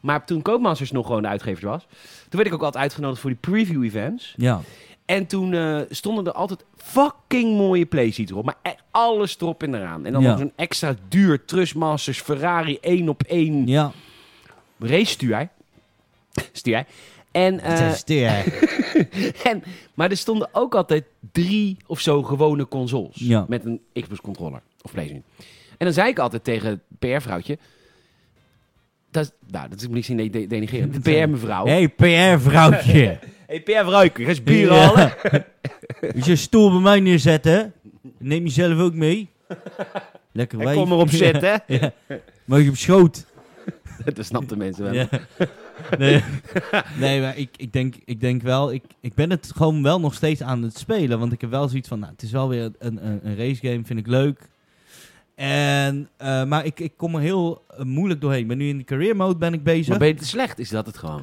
[SPEAKER 2] Maar toen Koopmasters nog gewoon de uitgever was. Toen werd ik ook altijd uitgenodigd voor die preview events.
[SPEAKER 1] ja.
[SPEAKER 2] En toen eh, stonden er altijd fucking mooie playseats op. Maar echt alles erop en eraan. En dan
[SPEAKER 1] Ja.
[SPEAKER 2] nog zo'n extra duur Trustmasters Ferrari 1 op 1
[SPEAKER 1] Ja.
[SPEAKER 2] race stuur jij. Stuur jij. En, eh,
[SPEAKER 1] Testeer.
[SPEAKER 2] en, maar er stonden ook altijd drie of zo gewone consoles.
[SPEAKER 1] Ja.
[SPEAKER 2] Met een Xbox controller of PlayStation. En dan zei ik altijd tegen het PR-vrouwtje. Dat, is- nou, dat is niet zin de, de, denigrerend. De PR-mevrouw.
[SPEAKER 1] hey, PR-vrouwtje.
[SPEAKER 2] hey, PR-vrouwtje, ga eens bier
[SPEAKER 1] Ja.
[SPEAKER 2] halen.
[SPEAKER 1] Als je een stoel bij mij neerzetten, neem jezelf ook mee. Lekker
[SPEAKER 2] En
[SPEAKER 1] wijf.
[SPEAKER 2] kom erop zitten.
[SPEAKER 1] Mag je op schoot?
[SPEAKER 2] dat snapten mensen wel.
[SPEAKER 1] Ja. Nee, nee maar ik, ik, denk, ik denk wel, ik, ik ben het gewoon wel nog steeds aan het spelen. Want ik heb wel zoiets van, nou, het is wel weer een, een, een race game, vind ik leuk. En, eh, maar ik, ik kom er heel eh, moeilijk doorheen. Ik ben nu in de career mode ben ik bezig.
[SPEAKER 2] Maar ben je te slecht, is dat het gewoon.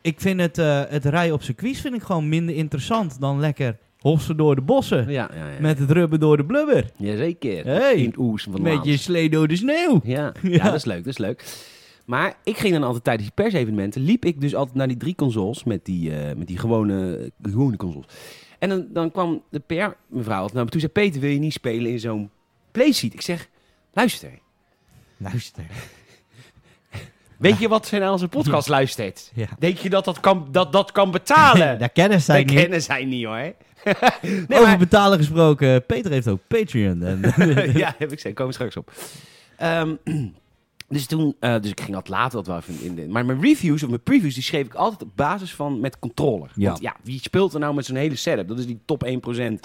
[SPEAKER 1] Ik vind het, eh, het rijden op circuits vind ik gewoon minder interessant dan lekker hopsen door de bossen.
[SPEAKER 2] Ja, ja, ja.
[SPEAKER 1] Met het rubber door de blubber.
[SPEAKER 2] Jazeker.
[SPEAKER 1] Hey.
[SPEAKER 2] In het oes van de
[SPEAKER 1] Met
[SPEAKER 2] maand.
[SPEAKER 1] je slee door de sneeuw.
[SPEAKER 2] Ja, ja.
[SPEAKER 1] Ja.
[SPEAKER 2] dat is leuk, dat is leuk. Maar ik ging dan altijd tijdens die persevenementen, liep ik dus altijd naar die drie consoles met die, eh, met die gewone, eh, gewone consoles. En dan, dan kwam de PR-mevrouw altijd naar me toe en nou, zei, Peter, wil je niet spelen in zo'n playseat? Ik zeg, luister,
[SPEAKER 1] Luister.
[SPEAKER 2] weet je wat ze naar onze podcast luistert?
[SPEAKER 1] Ja.
[SPEAKER 2] Denk je dat dat kan, dat, dat kan betalen?
[SPEAKER 1] Daar kennen zij
[SPEAKER 2] Dat
[SPEAKER 1] niet.
[SPEAKER 2] kennen zij niet hoor. nee,
[SPEAKER 1] Over
[SPEAKER 2] maar-
[SPEAKER 1] betalen gesproken, Peter heeft ook Patreon. En,
[SPEAKER 2] ja, heb ik zeker. Komen we straks op. Ehm, dus toen, eh, dus ik ging altijd later dat wel even in. de- Maar mijn reviews of mijn previews, die schreef ik altijd op basis van met controller.
[SPEAKER 1] Ja.
[SPEAKER 2] Want ja, wie speelt er nou met zo'n hele setup? Dat is die top 1% die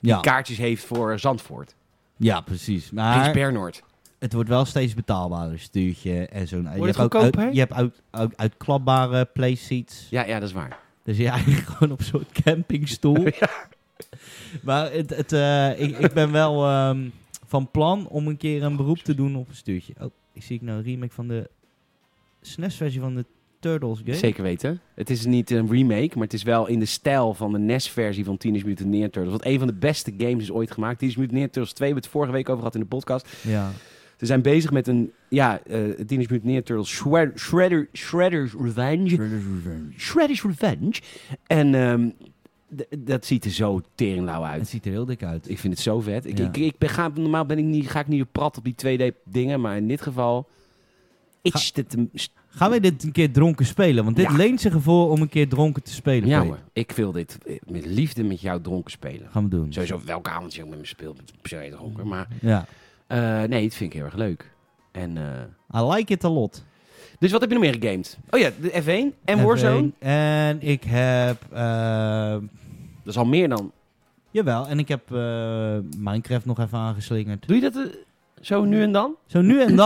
[SPEAKER 1] ja,
[SPEAKER 2] kaartjes heeft voor Zandvoort.
[SPEAKER 1] ja, precies.
[SPEAKER 2] Prins
[SPEAKER 1] Maar
[SPEAKER 2] Bernhard.
[SPEAKER 1] het wordt wel steeds betaalbaarder, stuurtje en zo'n... je
[SPEAKER 2] het
[SPEAKER 1] hebt ook
[SPEAKER 2] goedkoper?
[SPEAKER 1] uit- Je hebt uit, uit, uitklapbare playseats.
[SPEAKER 2] Ja, ja, dat is waar.
[SPEAKER 1] Dus je eigenlijk gewoon op zo'n campingstoel. Maar het, het, eh, ik, ik ben wel ehm, van plan om een keer een beroep te doen op een stuurtje. Oh, ik zie ik nou een remake van de SNES-versie van de Turtles game.
[SPEAKER 2] Zeker weten. Het is niet een remake, maar het is wel in de stijl van de NES-versie van Teenage Mutant Ninja Turtles. Wat een van de beste games is ooit gemaakt. Teenage Mutant Ninja Turtles 2, we hebben het vorige week over gehad in de podcast.
[SPEAKER 1] Ja.
[SPEAKER 2] Ze zijn bezig met een, ja, eh Teenage Mutant Ninja Turtles Shred- Shredder, Shredder's Revenge. Shredder's Revenge. En ehm, d- dat ziet er zo teringlauw
[SPEAKER 1] Het
[SPEAKER 2] uit.
[SPEAKER 1] ziet er heel dik uit.
[SPEAKER 2] Ik vind het zo vet. Ik,
[SPEAKER 1] Ja.
[SPEAKER 2] ik, ik ben, ga, normaal ben ik niet, ga ik niet op prat op die 2D dingen, maar in dit geval... Itcht het hem st-
[SPEAKER 1] Gaan wij dit een keer dronken spelen? Want dit
[SPEAKER 2] Ja.
[SPEAKER 1] leent zich ervoor om een keer dronken te spelen.
[SPEAKER 2] Ja
[SPEAKER 1] Peter.
[SPEAKER 2] hoor, ik wil dit eh, met liefde met jou dronken spelen.
[SPEAKER 1] Gaan we doen.
[SPEAKER 2] Sowieso welke avond je ook met me speelt, ben ik per se
[SPEAKER 1] Mm.
[SPEAKER 2] dronken. Maar
[SPEAKER 1] Ja.
[SPEAKER 2] eh, nee, dat vind ik heel erg leuk. En, eh,
[SPEAKER 1] I like it a lot.
[SPEAKER 2] dus wat heb je nog meer gegamed? Oh ja, de F1 en
[SPEAKER 1] F1.
[SPEAKER 2] Warzone.
[SPEAKER 1] En ik heb... eh,
[SPEAKER 2] Dat is al meer dan.
[SPEAKER 1] jawel, en ik heb eh, Minecraft nog even aangeslingerd.
[SPEAKER 2] Doe je dat? eh, Zo nu en dan?
[SPEAKER 1] Zo nu en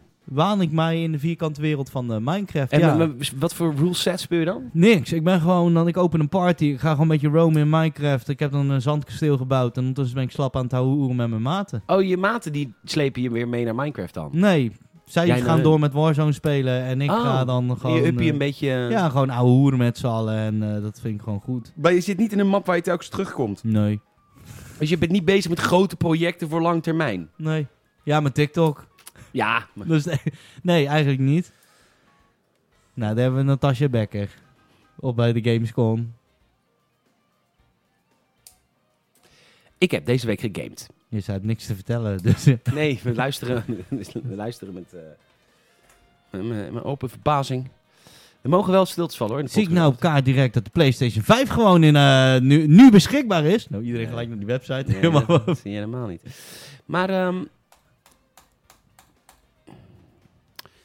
[SPEAKER 1] dan waan ik mij in de vierkante wereld van eh, Minecraft.
[SPEAKER 2] En
[SPEAKER 1] ja.
[SPEAKER 2] eh, maar wat voor rule set speel je dan?
[SPEAKER 1] Niks. Ik ben gewoon, dan ik open een party. Ik ga gewoon een beetje roamen in Minecraft. Ik heb dan een zandkasteel gebouwd. En ondertussen ben ik slap aan het houden met mijn maten.
[SPEAKER 2] Oh, je maten die slepen je weer mee naar Minecraft dan?
[SPEAKER 1] Nee. Zij
[SPEAKER 2] Jij
[SPEAKER 1] gaan
[SPEAKER 2] naar-
[SPEAKER 1] door met Warzone spelen. En ik
[SPEAKER 2] Oh,
[SPEAKER 1] ga dan gewoon...
[SPEAKER 2] je uppie
[SPEAKER 1] eh,
[SPEAKER 2] een beetje... eh,
[SPEAKER 1] Ja, gewoon ouwe hoeren met z'n allen. En eh, dat vind ik gewoon goed.
[SPEAKER 2] Maar je zit niet in een map waar je telkens terugkomt.
[SPEAKER 1] Nee.
[SPEAKER 2] Dus je bent niet bezig met grote projecten voor lang termijn.
[SPEAKER 1] Nee. Ja, met TikTok.
[SPEAKER 2] Ja, maar-
[SPEAKER 1] Dus nee, nee, eigenlijk niet. Nou, daar hebben we Natasja Becker. Op bij de Gamescom.
[SPEAKER 2] ik heb deze week gegamed.
[SPEAKER 1] Je staat niks te vertellen. Dus, eh,
[SPEAKER 2] Nee, we luisteren, we luisteren met, eh, met mijn mijn open verbazing. Er mogen wel stiltes vallen hoor. in de
[SPEAKER 1] zie ik
[SPEAKER 2] podcast.
[SPEAKER 1] nou op kaart direct dat de PlayStation 5 gewoon in, eh, nu, nu beschikbaar is? Nou, iedereen
[SPEAKER 2] Ja.
[SPEAKER 1] gelijk naar die website.
[SPEAKER 2] Nee,
[SPEAKER 1] Helemaal.
[SPEAKER 2] dat zie je helemaal niet. Maar ehm,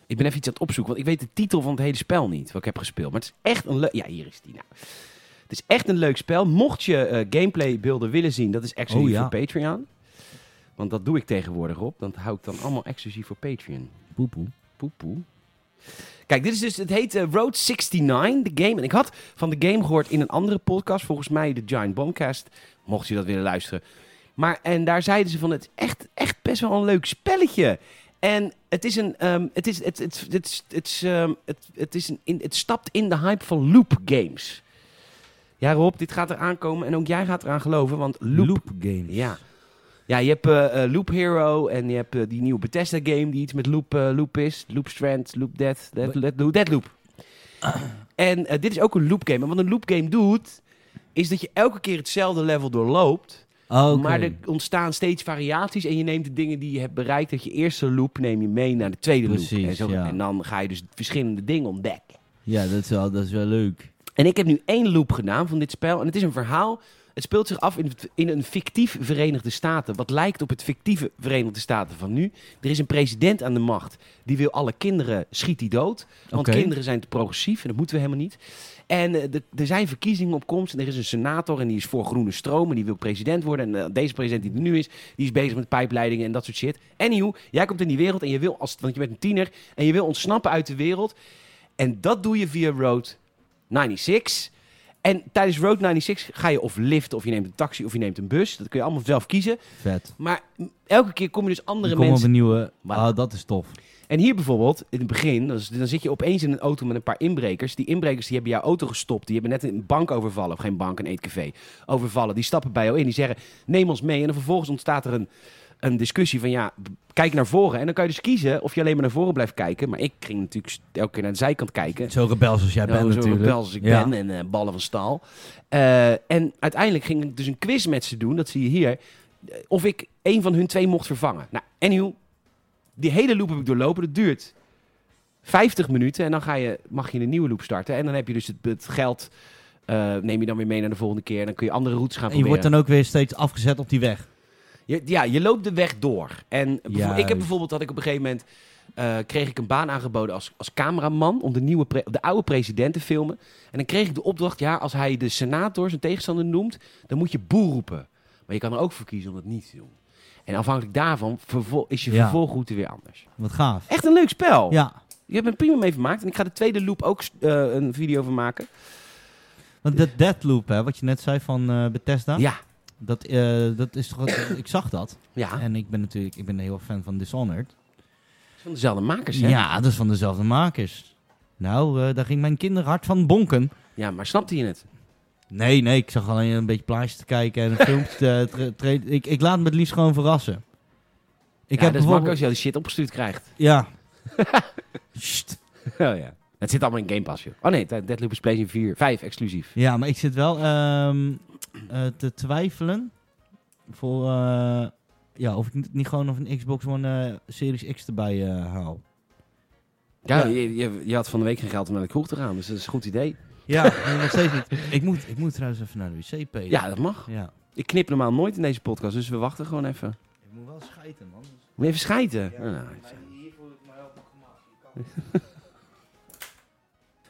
[SPEAKER 2] ik ben even iets aan het opzoeken, want ik weet de titel van het hele spel niet, wat ik heb gespeeld. Maar het is echt een leuk... Ja, hier is die nou. Het is echt een leuk spel. Mocht je eh, gameplaybeelden willen zien, dat is exclusief
[SPEAKER 1] Oh, ja.
[SPEAKER 2] voor Patreon. Want dat doe ik tegenwoordig op. Dat hou ik dan allemaal exclusief voor Patreon.
[SPEAKER 1] Poepoe.
[SPEAKER 2] Poepoe. Kijk, dit is dus, het heet eh, Road 69, de game. En ik had van de game gehoord in een andere podcast, volgens mij de Giant Bombcast, mocht je dat willen luisteren. Maar, en daar zeiden ze van, het is echt, echt best wel een leuk spelletje. En het is een, ehm, het is, het, het, het, het, het, is, ehm, het, het is een, in, het stapt in de hype van Loop Games. Ja Rob, dit gaat eraan komen en ook jij gaat eraan geloven, want
[SPEAKER 1] Loop,
[SPEAKER 2] Loop
[SPEAKER 1] Games.
[SPEAKER 2] ja. Ja, je hebt eh, eh, Loop Hero en je hebt eh, die nieuwe Bethesda game die iets met Loop, eh, loop is. Loop Strand, Loop Dead, Dead, Dead, Loop. Dead Loop. En eh, dit is ook een loop game. En wat een loop game doet, is dat je elke keer hetzelfde level doorloopt.
[SPEAKER 1] Ah, Oké.
[SPEAKER 2] Maar er ontstaan steeds variaties en je neemt de dingen die je hebt bereikt. Dat je eerste loop neem je mee naar de tweede loop.
[SPEAKER 1] Precies,
[SPEAKER 2] En, zo,
[SPEAKER 1] ja.
[SPEAKER 2] en dan ga je dus verschillende dingen ontdekken.
[SPEAKER 1] Ja, dat is, wel, dat is wel leuk.
[SPEAKER 2] En ik heb nu één loop gedaan van dit spel. En het is een verhaal. Het speelt zich af in, in een fictief Verenigde Staten. Wat lijkt op het fictieve Verenigde Staten van nu. Er is een president aan de macht. Die wil alle kinderen schiet die dood. Want
[SPEAKER 1] Oké.
[SPEAKER 2] kinderen zijn te progressief. En dat moeten we helemaal niet. En eh, de- er zijn verkiezingen op komst. En er is een senator. En die is voor groene stromen. Die wil president worden. En eh, deze president die er nu is. Die is bezig met pijpleidingen en dat soort shit. Anyhow, jij komt in die wereld. En je wil, als, want je bent een tiener. En je wil ontsnappen uit de wereld. En dat doe je via Road 96. En tijdens Road 96 ga je of liften, of je neemt een taxi, of je neemt een bus. Dat kun je allemaal zelf kiezen.
[SPEAKER 1] Vet.
[SPEAKER 2] Maar elke keer kom je dus andere
[SPEAKER 1] Ik kom op
[SPEAKER 2] mensen...
[SPEAKER 1] een nieuwe...
[SPEAKER 2] Voilà.
[SPEAKER 1] Ah, dat is tof.
[SPEAKER 2] En hier bijvoorbeeld, in het begin, dan, is- dan zit je opeens in een auto met een paar inbrekers. Die inbrekers die hebben jouw auto gestopt. Die hebben net een bank overvallen, of geen bank, een eetcafé overvallen. Die stappen bij jou in, die zeggen, neem ons mee. En dan vervolgens ontstaat er een, een discussie van, ja, b- kijk naar voren. En dan kan je dus kiezen of je alleen maar naar voren blijft kijken. Maar ik ging natuurlijk elke keer naar de zijkant kijken.
[SPEAKER 1] Zo rebels als jij
[SPEAKER 2] Nou,
[SPEAKER 1] bent
[SPEAKER 2] zo
[SPEAKER 1] natuurlijk.
[SPEAKER 2] rebels als ik
[SPEAKER 1] Ja.
[SPEAKER 2] ben en eh, ballen van staal. Eh, en uiteindelijk ging ik dus een quiz met ze doen, dat zie je hier. eh, Of ik een van hun twee mocht vervangen. Nou, anyhow, die hele loop heb ik doorlopen. Dat duurt 50 minuten en dan ga je, mag je een nieuwe loop starten. En dan heb je dus het, het geld, eh, neem je dan weer mee naar de volgende keer. En dan kun je andere routes gaan
[SPEAKER 1] En je
[SPEAKER 2] proberen.
[SPEAKER 1] wordt dan ook weer steeds afgezet op die weg.
[SPEAKER 2] Je- ja, je loopt de weg door. En bijvoorbeeld- ik
[SPEAKER 1] Juist.
[SPEAKER 2] heb bijvoorbeeld, had ik op een gegeven moment, eh, kreeg ik een baan aangeboden als, als cameraman om de, nieuwe pre- de oude president te filmen. En dan kreeg ik de opdracht, ja, als hij de senator zijn tegenstander noemt, dan moet je boel roepen. Maar je kan er ook voor kiezen om dat niet te doen. En afhankelijk daarvan vervol- is je
[SPEAKER 1] Ja.
[SPEAKER 2] vervolgroute weer anders.
[SPEAKER 1] Wat gaaf.
[SPEAKER 2] Echt een leuk spel.
[SPEAKER 1] Ja.
[SPEAKER 2] Je hebt er prima mee vermaakt. En ik ga de tweede loop ook eh, een video van maken.
[SPEAKER 1] Want dat Deadloop, hè, wat je net zei van eh, Bethesda.
[SPEAKER 2] Ja,
[SPEAKER 1] Dat, eh, dat is toch... ik zag dat.
[SPEAKER 2] ja.
[SPEAKER 1] En ik ben natuurlijk... Ik ben heel erg fan van Dishonored.
[SPEAKER 2] Van dezelfde makers, hè?
[SPEAKER 1] Ja, dat is van dezelfde makers. Nou, eh, daar ging mijn kinderhart van bonken.
[SPEAKER 2] ja, maar snapte je het?
[SPEAKER 1] Nee, nee, ik zag alleen een beetje plaatjes te kijken en een filmpje te tra- tra- ik, ik laat me het liefst gewoon verrassen. Ik
[SPEAKER 2] ja,
[SPEAKER 1] heb
[SPEAKER 2] dat is makkelijk
[SPEAKER 1] bijvoorbeeld...
[SPEAKER 2] als je al die shit opgestuurd krijgt.
[SPEAKER 1] Ja. Sst.
[SPEAKER 2] Oh ja. Het zit allemaal in Game Pass, joh. Oh nee, Dead- Deadloop is PlayStation 4, 5 exclusief.
[SPEAKER 1] Ja, maar ik zit wel ehm, eh, te twijfelen voor, eh, ja, of ik niet- niet gewoon nog een Xbox One eh, Series X erbij eh, haal.
[SPEAKER 2] Ja,
[SPEAKER 1] Ja.
[SPEAKER 2] Je, je, je had van de week geen geld om naar de kroeg te gaan, dus dat is een goed idee.
[SPEAKER 1] Ja, nee, nog steeds niet. Ik moet, ik moet trouwens even naar de wc, Peter.
[SPEAKER 2] Ja, dat mag.
[SPEAKER 1] ja.
[SPEAKER 2] Ik knip normaal nooit in deze podcast, dus we wachten gewoon even.
[SPEAKER 1] Ik moet wel schijten, man. Dus,
[SPEAKER 2] Moet je even schijten? Nou,
[SPEAKER 1] Ah,
[SPEAKER 2] nou,
[SPEAKER 1] Hier voel ik me heel gemaakt.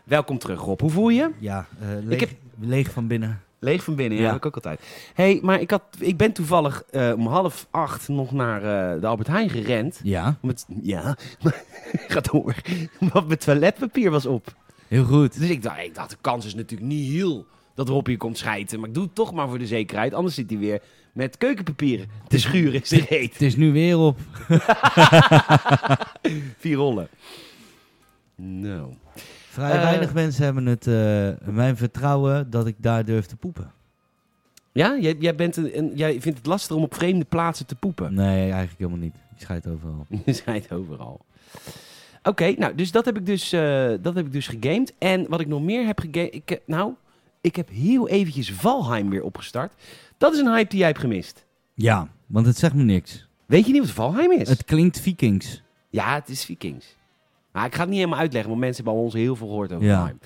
[SPEAKER 2] welkom terug, Rob. Hoe voel je?
[SPEAKER 1] Ja, eh,
[SPEAKER 2] Ik
[SPEAKER 1] leeg, leeg van binnen.
[SPEAKER 2] Leeg van binnen, ja,
[SPEAKER 1] Ja.
[SPEAKER 2] heb ik ook altijd. hey, maar ik, had, ik ben toevallig eh, om half acht nog naar eh, de Albert Heijn gerend.
[SPEAKER 1] Ja,
[SPEAKER 2] Om het- ja, gaat door. Want mijn toiletpapier was op.
[SPEAKER 1] heel goed.
[SPEAKER 2] Dus ik dacht, ik dacht, de kans is natuurlijk niet heel dat Rob hier komt schijten. Maar ik doe het toch maar voor de zekerheid. Anders zit hij weer met keukenpapieren te schuren in zijn reet.
[SPEAKER 1] Het is nu weer op.
[SPEAKER 2] Vier rollen. Nou.
[SPEAKER 1] Vrij
[SPEAKER 2] Eh.
[SPEAKER 1] weinig mensen hebben het, eh, mijn vertrouwen dat ik daar durf te poepen.
[SPEAKER 2] Ja, jij, jij, bent een, een- jij vindt het lastig om op vreemde plaatsen te poepen.
[SPEAKER 1] Nee, eigenlijk helemaal niet. Ik scheid overal.
[SPEAKER 2] Je zei het overal. Oké, nou, dus dat heb ik dus, eh, dat heb ik dus gegamed. En wat ik nog meer heb gegamed... Ik heb, nou, ik heb heel eventjes Valheim weer opgestart. Dat is een hype die jij hebt gemist.
[SPEAKER 1] Ja, want het zegt me niks.
[SPEAKER 2] Weet je niet wat Valheim is?
[SPEAKER 1] Het klinkt Vikings.
[SPEAKER 2] Ja, het is Vikings. Maar ik ga het niet helemaal uitleggen, want mensen hebben al ons heel veel gehoord over
[SPEAKER 1] Ja.
[SPEAKER 2] Valheim.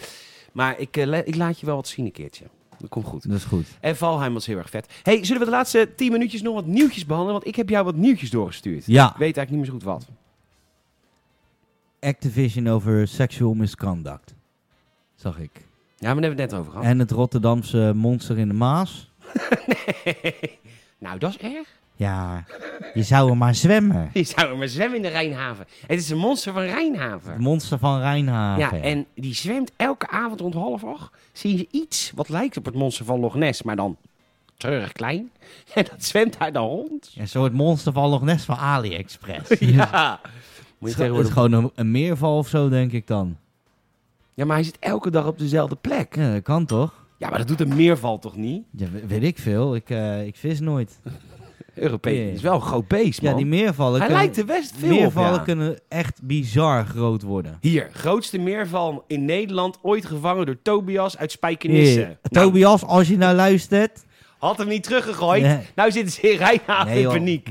[SPEAKER 2] Maar ik, eh, la- ik laat je wel wat zien een keertje. Dat komt goed.
[SPEAKER 1] Dat is goed.
[SPEAKER 2] En Valheim was heel erg vet. hey, zullen we de laatste 10 minuutjes nog wat nieuwtjes behandelen? Want ik heb jou wat nieuwtjes doorgestuurd.
[SPEAKER 1] Ja,
[SPEAKER 2] Ik weet eigenlijk niet meer zo goed wat.
[SPEAKER 1] Activision over sexual misconduct. Zag ik.
[SPEAKER 2] Ja, maar daar hebben we het net over gehad.
[SPEAKER 1] En het Rotterdamse monster in de Maas.
[SPEAKER 2] Nou, dat is erg.
[SPEAKER 1] Ja, je zou er maar zwemmen.
[SPEAKER 2] Je zou er maar zwemmen in de Rijnhaven. Het is een monster van
[SPEAKER 1] Het
[SPEAKER 2] Rijnhaven.
[SPEAKER 1] monster van
[SPEAKER 2] Ja,
[SPEAKER 1] Rijnhaven.
[SPEAKER 2] en die zwemt elke avond rond half acht. Zien ze iets wat lijkt op het monster van Loch Ness, maar dan treurig klein. En dat zwemt daar dan rond.
[SPEAKER 1] Een soort monster van Loch Ness van AliExpress.
[SPEAKER 2] Ja.
[SPEAKER 1] Het
[SPEAKER 2] Moet je
[SPEAKER 1] is het is
[SPEAKER 2] tegenwoordig...
[SPEAKER 1] gewoon een, een meerval of zo, denk ik dan.
[SPEAKER 2] Ja, maar hij zit elke dag op dezelfde plek.
[SPEAKER 1] Ja, dat kan toch?
[SPEAKER 2] Ja, maar dat doet een meerval toch niet?
[SPEAKER 1] Ja, we- weet ik veel. Ik, eh, ik vis nooit.
[SPEAKER 2] Europees
[SPEAKER 1] Nee.
[SPEAKER 2] is wel een groot beest, man.
[SPEAKER 1] Ja, die meervallen,
[SPEAKER 2] hij
[SPEAKER 1] kunnen,
[SPEAKER 2] lijkt er best veel op,
[SPEAKER 1] meervallen
[SPEAKER 2] ja.
[SPEAKER 1] kunnen echt bizar groot worden.
[SPEAKER 2] Hier, grootste meerval in Nederland ooit gevangen door Tobias uit Spijkenisse.
[SPEAKER 1] Hey,
[SPEAKER 2] Nou,
[SPEAKER 1] Tobias, als je nou luistert...
[SPEAKER 2] had hem niet teruggegooid.
[SPEAKER 1] Nee.
[SPEAKER 2] Nou zitten ze in Rijnhaven
[SPEAKER 1] Nee,
[SPEAKER 2] in
[SPEAKER 1] joh.
[SPEAKER 2] paniek.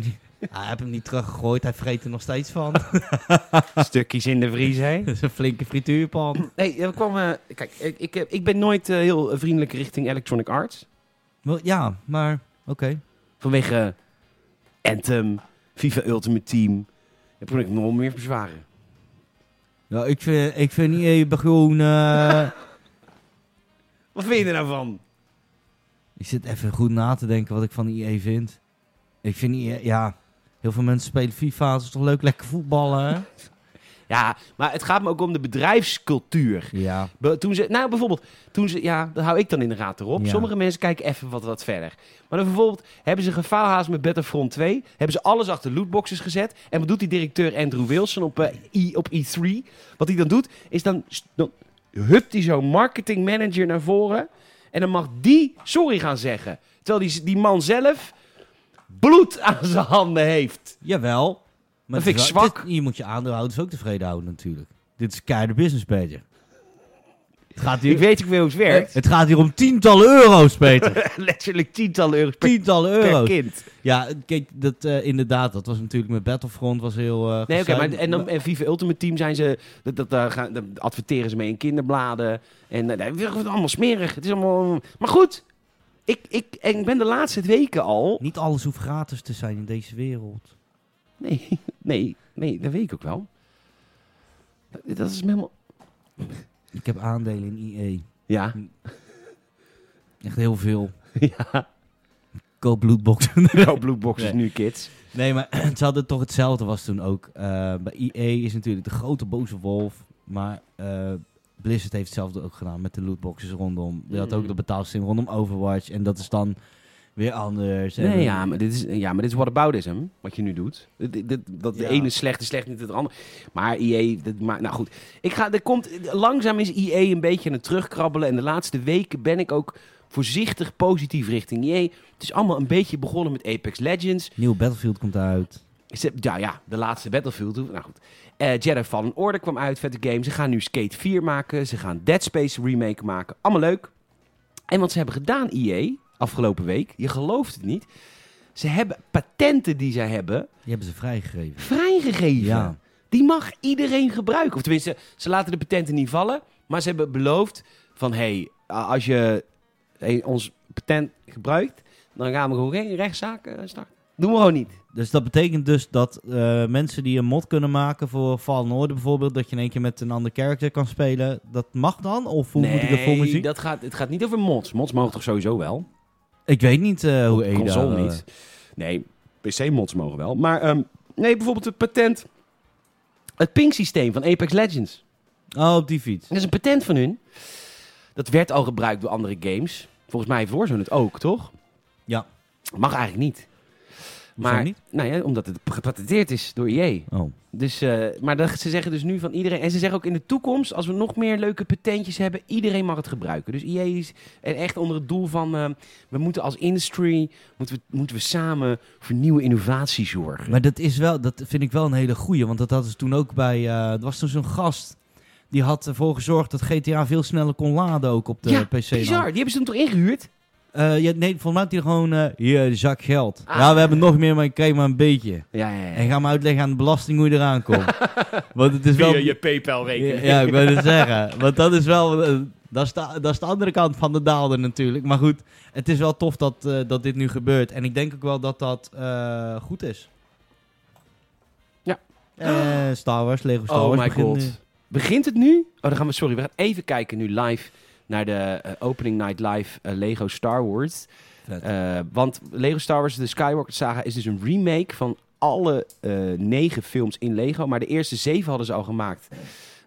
[SPEAKER 1] Hij heeft hem niet teruggegooid, hij vreet er nog steeds van.
[SPEAKER 2] Stukjes in de vries, hè?
[SPEAKER 1] Dat is een flinke frituurpan.
[SPEAKER 2] Nee, er kwam... eh, kijk, ik, ik, eh, ik ben nooit eh, heel eh, vriendelijk richting Electronic Arts.
[SPEAKER 1] Wel, Ja, maar oké.
[SPEAKER 2] Vanwege eh, Anthem, FIFA Ultimate Team. Daar kon ik nog wel meer bezwaren.
[SPEAKER 1] Ja, ik vind, ik vind niet even gewoon... eh,
[SPEAKER 2] Wat vind je er nou van?
[SPEAKER 1] Ik zit even goed na te denken wat ik van EA vind. Ik vind EA, ja, heel veel mensen spelen FIFA. Het is toch leuk lekker voetballen, hè?
[SPEAKER 2] Ja, maar het gaat me ook om de bedrijfscultuur.
[SPEAKER 1] ja.
[SPEAKER 2] Be- toen ze, nou, bijvoorbeeld, toen ze, ja, daar hou ik dan in de raad erop.
[SPEAKER 1] Ja.
[SPEAKER 2] Sommige mensen kijken even wat, wat verder. Maar dan bijvoorbeeld hebben ze gefaalhaast met Battlefront 2. Hebben ze alles achter lootboxes gezet. En wat doet die directeur Andrew Wilson op, eh, I- op E3? Wat hij dan doet, is dan, s- dan hupt hij zo'n marketingmanager naar voren. En dan mag die sorry gaan zeggen. Terwijl die, die man zelf bloed aan zijn handen heeft.
[SPEAKER 1] Jawel. Maar
[SPEAKER 2] Dat vind
[SPEAKER 1] het is
[SPEAKER 2] ik
[SPEAKER 1] wel-
[SPEAKER 2] zwak.
[SPEAKER 1] dit- je moet je aandeelhouders ook tevreden houden natuurlijk. Dit is keiharde business, Peter. Het gaat
[SPEAKER 2] Ik
[SPEAKER 1] hier,
[SPEAKER 2] weet ook weer hoe het werkt.
[SPEAKER 1] het gaat hier om tientallen euro's, Peter.
[SPEAKER 2] Letterlijk tientallen euro's per,
[SPEAKER 1] tientallen
[SPEAKER 2] per
[SPEAKER 1] euro's.
[SPEAKER 2] kind.
[SPEAKER 1] Ja, kijk, dat, eh, inderdaad, dat was natuurlijk met Battlefront was heel... eh,
[SPEAKER 2] Nee, oké,
[SPEAKER 1] gezuim.
[SPEAKER 2] maar en, dan, en FIFA Ultimate Team zijn ze, dat, dat, daar gaan, daar adverteren ze mee in kinderbladen. En eh, nee, het is allemaal smerig. Het is allemaal, maar goed, ik, ik, en ik ben de laatste weken al.
[SPEAKER 1] Niet alles hoeft gratis te zijn in deze wereld.
[SPEAKER 2] Nee, nee, nee, dat weet ik ook wel. Dat is me helemaal.
[SPEAKER 1] Ik heb aandelen in EA.
[SPEAKER 2] Ja,
[SPEAKER 1] Echt heel veel.
[SPEAKER 2] ja.
[SPEAKER 1] Koop bloedboxen.
[SPEAKER 2] Nou, Blueboxes
[SPEAKER 1] Nee.
[SPEAKER 2] nu, kids.
[SPEAKER 1] Nee, maar ze hadden toch hetzelfde was toen ook. Eh, bij EA is natuurlijk de grote boze wolf. Maar eh, Blizzard heeft hetzelfde ook gedaan met de lootboxes rondom. Je had ook
[SPEAKER 2] Mm.
[SPEAKER 1] de betaalsting rondom Overwatch. En dat is dan weer anders. En-
[SPEAKER 2] Nee, ja, maar dit is, ja, maar dit is whataboutism, wat je nu doet. Dit- dit- dit- dat
[SPEAKER 1] Ja.
[SPEAKER 2] de ene is slecht, is slecht, niet het andere. Maar IE, dat maakt, nou goed. Ik ga, er komt, langzaam is IE een beetje aan het terugkrabbelen. En de laatste weken ben ik ook voorzichtig positief richting IE. Het is allemaal een beetje begonnen met Apex Legends.
[SPEAKER 1] Nieuw Battlefield komt uit.
[SPEAKER 2] Ze, ja, ja, de laatste Battlefield. Nou goed. Eh Jedi Fallen Order kwam uit, vette game. Ze gaan nu Skate 4 maken. Ze gaan Dead Space remake maken. Allemaal leuk. En wat ze hebben gedaan, EA, afgelopen week. Je gelooft het niet. Ze hebben patenten die zij hebben
[SPEAKER 1] Die hebben ze vrijgegeven.
[SPEAKER 2] vrijgegeven.
[SPEAKER 1] Ja.
[SPEAKER 2] Die mag iedereen gebruiken. Of tenminste, ze laten de patenten niet vallen. Maar ze hebben beloofd van... hé, hey, a- als je eh, ons patent gebruikt... dan gaan we gewoon geen rechtszaak eh, starten. Doen we gewoon niet.
[SPEAKER 1] Dus dat betekent dus dat eh, mensen die een mod kunnen maken voor Fallen Order bijvoorbeeld, dat je in één keer met een ander character kan spelen, dat mag dan? Of hoe moet ik dat voor me zien?
[SPEAKER 2] dat gaat, het gaat niet over mods. Mods mogen toch sowieso wel?
[SPEAKER 1] Ik weet niet eh hoe Ada...
[SPEAKER 2] Console
[SPEAKER 1] eh,
[SPEAKER 2] niet. Nee, PC-mods mogen wel. Maar ehm, nee, bijvoorbeeld het patent. Het ping-systeem van Apex Legends.
[SPEAKER 1] Oh, op die fiets.
[SPEAKER 2] Dat is een patent van hun. Dat werd al gebruikt door andere games. Volgens mij heeft Warzone het ook, toch?
[SPEAKER 1] Ja.
[SPEAKER 2] Mag eigenlijk niet.
[SPEAKER 1] Hoezo
[SPEAKER 2] Maar,
[SPEAKER 1] niet?
[SPEAKER 2] Nou ja, omdat het gepatenteerd is door EA.
[SPEAKER 1] Oh.
[SPEAKER 2] Dus, eh, maar dat, ze zeggen dus nu van iedereen... En ze zeggen ook in de toekomst, als we nog meer leuke patentjes hebben... iedereen mag het gebruiken. Dus EA is en echt onder het doel van... eh, we moeten als industry, moeten we, moeten we samen voor nieuwe innovatie zorgen.
[SPEAKER 1] Maar dat is wel, dat vind ik wel een hele goeie. Want dat hadden ze toen ook bij. eh, er was toen zo'n gast. Die had ervoor gezorgd dat GTA veel sneller kon laden ook op de
[SPEAKER 2] ja,
[SPEAKER 1] PC. dan.
[SPEAKER 2] bizar. Die hebben ze hem toch ingehuurd?
[SPEAKER 1] Eh, ja, nee, volgens mij had hij gewoon. eh, hier, een zak geld.
[SPEAKER 2] Ah.
[SPEAKER 1] Ja, we hebben nog meer, maar ik krijg maar een beetje.
[SPEAKER 2] Ja, ja, ja.
[SPEAKER 1] En ga me uitleggen aan de belasting hoe je eraan komt. want het is wel.
[SPEAKER 2] PayPal-rekening.
[SPEAKER 1] Ja, ik wil het zeggen. Want dat is wel. eh, dat, is de, dat is de andere kant van de daalder natuurlijk. Maar goed, het is wel tof dat, eh, dat dit nu gebeurt. En ik denk ook wel dat dat eh, goed is.
[SPEAKER 2] Ja.
[SPEAKER 1] Eh, Star Wars, Lego Star Wars.
[SPEAKER 2] oh my
[SPEAKER 1] begint
[SPEAKER 2] god.
[SPEAKER 1] nu.
[SPEAKER 2] Begint het nu? Oh, dan gaan we, sorry, we gaan even kijken nu live naar de eh, opening night live eh, Lego Star Wars.
[SPEAKER 1] Vet.
[SPEAKER 2] Eh, want Lego Star Wars, de Skywalker saga, is dus een remake van alle eh, negen films in Lego. Maar de eerste zeven hadden ze al gemaakt.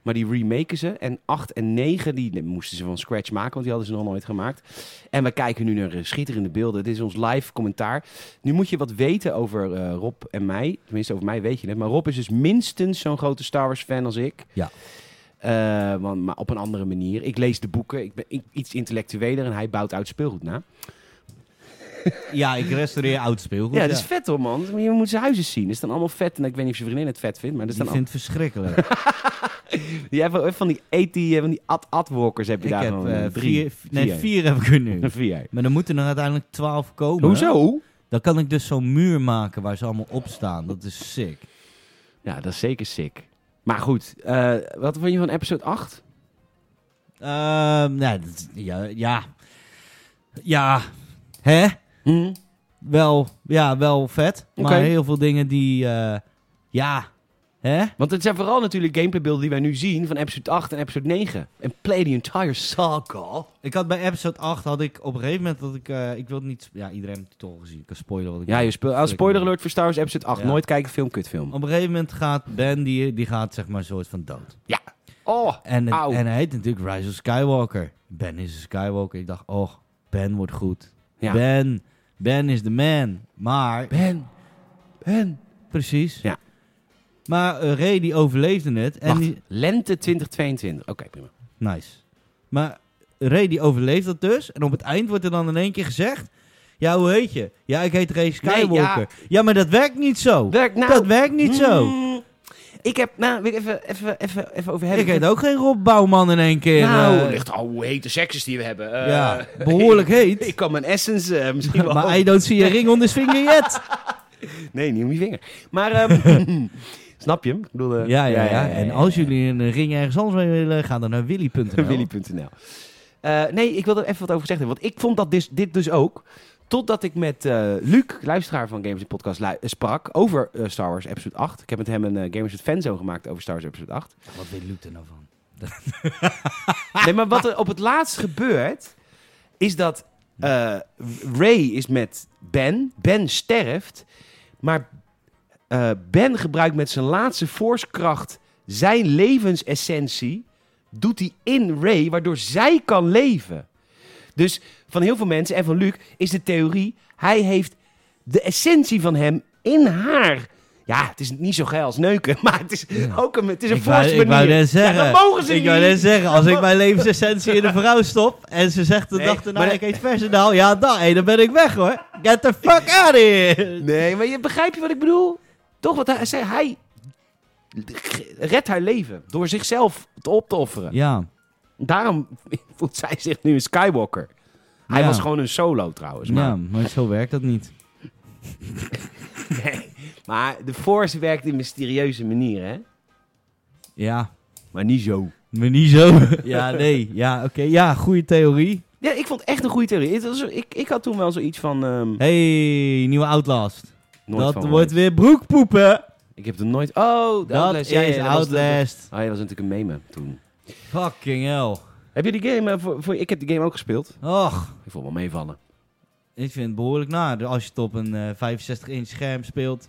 [SPEAKER 2] Maar die remaken ze. En acht en negen, die die moesten ze van scratch maken, want die hadden ze nog nooit gemaakt. En we kijken nu naar eh, schitterende beelden. Dit is ons live commentaar. Nu moet je wat weten over eh, Rob en mij. Tenminste, over mij weet je het. Maar Rob is dus minstens zo'n grote Star Wars fan als ik.
[SPEAKER 1] Ja.
[SPEAKER 2] Eh, want, maar op een andere manier. Ik lees de boeken. Ik ben i- iets intellectueler en hij bouwt oud speelgoed na.
[SPEAKER 1] Ja, ik restaureer oud speelgoed.
[SPEAKER 2] ja, dat is vet hoor, man. Je moet zijn huis eens zien. Er staan allemaal vet. En ik weet niet of je vriendin het vet vindt, maar er
[SPEAKER 1] Die
[SPEAKER 2] staan
[SPEAKER 1] vindt het verschrikkelijk.
[SPEAKER 2] al- Jij hebt wel- van die 80, eh, van die ad-ad-walkers heb je
[SPEAKER 1] ik
[SPEAKER 2] daar
[SPEAKER 1] heb
[SPEAKER 2] gewoon
[SPEAKER 1] eh,
[SPEAKER 2] eh,
[SPEAKER 1] vier,
[SPEAKER 2] drie.
[SPEAKER 1] nee, vier heb ik er nu.
[SPEAKER 2] Een vier.
[SPEAKER 1] Maar dan moeten er uiteindelijk twaalf komen.
[SPEAKER 2] Hoezo?
[SPEAKER 1] Dan kan ik dus zo'n muur maken waar ze allemaal op staan. Dat is sick.
[SPEAKER 2] Ja, dat is zeker sick. Maar goed, eh, wat vond je van episode 8?
[SPEAKER 1] Ehm, nee, dat- ja, ja. Ja. Hè?
[SPEAKER 2] Hm?
[SPEAKER 1] Wel, ja, wel vet.
[SPEAKER 2] Oké.
[SPEAKER 1] Maar heel veel dingen die... eh, ja. Hè?
[SPEAKER 2] Want het zijn vooral natuurlijk gameplaybeelden die wij nu zien van episode 8 en episode 9. En play the entire saga.
[SPEAKER 1] Ik had bij episode 8 had ik op een gegeven moment dat ik... eh, ik wil niet... Ja, iedereen heeft het al gezien. Ik kan spoilen wat ik
[SPEAKER 2] Ja,
[SPEAKER 1] wil.
[SPEAKER 2] je speel, ah, spoiler alert voor Star Wars episode 8.
[SPEAKER 1] Ja.
[SPEAKER 2] Nooit kijken, film, kutfilm.
[SPEAKER 1] Op een gegeven moment gaat Ben, die, die gaat zeg maar een soort van dood.
[SPEAKER 2] Ja. Oh,
[SPEAKER 1] En,
[SPEAKER 2] Auw.
[SPEAKER 1] het, en hij heet natuurlijk Rise of Skywalker. Ben is een Skywalker. Ik dacht, oh, Ben wordt goed.
[SPEAKER 2] Ja.
[SPEAKER 1] Ben, Ben is de man. Maar
[SPEAKER 2] Ben. Ben.
[SPEAKER 1] Precies.
[SPEAKER 2] Ja.
[SPEAKER 1] Maar eh, Ray die overleefde het. En
[SPEAKER 2] Wacht,
[SPEAKER 1] die,
[SPEAKER 2] lente 2022. Oké, prima.
[SPEAKER 1] nice. Maar Ray die overleeft dat dus. En op het eind wordt er dan in één keer gezegd. Ja, hoe heet je? Ja, ik heet Ray Skywalker.
[SPEAKER 2] ja.
[SPEAKER 1] ja. maar dat werkt niet zo.
[SPEAKER 2] Werk nou.
[SPEAKER 1] dat werkt niet zo.
[SPEAKER 2] Mm, ik heb, nou, wil ik even, even, even, even over hebben.
[SPEAKER 1] Ik heet ook geen Rob Bouwman in één keer.
[SPEAKER 2] Nou,
[SPEAKER 1] eh,
[SPEAKER 2] ligt al hoe hete seksjes die we hebben. Eh,
[SPEAKER 1] ja, behoorlijk
[SPEAKER 2] Ik
[SPEAKER 1] heet.
[SPEAKER 2] kan mijn essence eh, misschien wel.
[SPEAKER 1] maar I don't see a ring on his finger yet.
[SPEAKER 2] Nee, niet om je vinger. Maar, ehm, snap je hem? Ik bedoel, eh,
[SPEAKER 1] ja, ja, ja. En als jullie een ring ergens anders mee willen, ga dan naar willy.nl.
[SPEAKER 2] Willy.nl. Eh, nee, ik wil er even wat over gezegd hebben. Want ik vond dat dus, dit dus ook. Totdat ik met eh, Luc, luisteraar van Gamers in Podcast, lui- eh, sprak over eh, Star Wars Episode 8. Ik heb met hem een eh, Gamers in Fanzo gemaakt over Star Wars Episode 8.
[SPEAKER 1] Wat weet Luke er nou van?
[SPEAKER 2] Nee, maar wat er op het laatst gebeurt, is dat eh, Ray is met Ben. Ben sterft, maar eh, Ben gebruikt met zijn laatste forcekracht zijn levensessentie. Doet hij in Ray, waardoor zij kan leven. Dus van heel veel mensen en van Luc is de theorie, hij heeft de essentie van hem in haar. Ja, het is niet zo geil als neuken, maar het is ook een, het is een
[SPEAKER 1] Ik wou,
[SPEAKER 2] force
[SPEAKER 1] ik wou
[SPEAKER 2] manier.
[SPEAKER 1] net zeggen.
[SPEAKER 2] Ja, dat mogen ze
[SPEAKER 1] ik
[SPEAKER 2] niet.
[SPEAKER 1] wou net zeggen, als
[SPEAKER 2] Dat
[SPEAKER 1] ik mijn levensessentie in een vrouw stop en ze zegt de
[SPEAKER 2] Nee,
[SPEAKER 1] dag erna,
[SPEAKER 2] maar-
[SPEAKER 1] ik eet versendaal, ja dan, hé, dan ben ik weg hoor. Get the fuck out of here.
[SPEAKER 2] Nee, maar je begrijp je wat ik bedoel? Toch, want hij, zei, hij redt haar leven door zichzelf te op te offeren.
[SPEAKER 1] Ja,
[SPEAKER 2] Daarom voelt zij zich nu een Skywalker. Hij
[SPEAKER 1] Ja.
[SPEAKER 2] was gewoon een solo trouwens. Maar,
[SPEAKER 1] ja, maar zo werkt dat niet.
[SPEAKER 2] nee. maar de Force werkt in mysterieuze manieren, hè?
[SPEAKER 1] Ja,
[SPEAKER 2] Maar niet zo.
[SPEAKER 1] maar niet zo. Ja, nee. Ja, oké. Ja, goede theorie.
[SPEAKER 2] Ja, ik vond het echt een goede theorie. Het was, ik, ik had toen wel zoiets van... ehm,
[SPEAKER 1] hey, nieuwe Outlast.
[SPEAKER 2] Nooit
[SPEAKER 1] dat
[SPEAKER 2] van gehoord.
[SPEAKER 1] wordt weer broekpoepen.
[SPEAKER 2] Ik heb er nooit... Oh, de
[SPEAKER 1] Dat
[SPEAKER 2] Outlast.
[SPEAKER 1] is
[SPEAKER 2] Ja, ja, dat was-
[SPEAKER 1] Outlast.
[SPEAKER 2] Oh, ja, dat was natuurlijk een meme toen.
[SPEAKER 1] Fucking hell.
[SPEAKER 2] Heb je die game... eh, voor, voor, ik heb die game ook gespeeld.
[SPEAKER 1] Och,
[SPEAKER 2] Ik vond wel meevallen.
[SPEAKER 1] ik vind het behoorlijk naar als je het op een eh, 65 inch scherm speelt.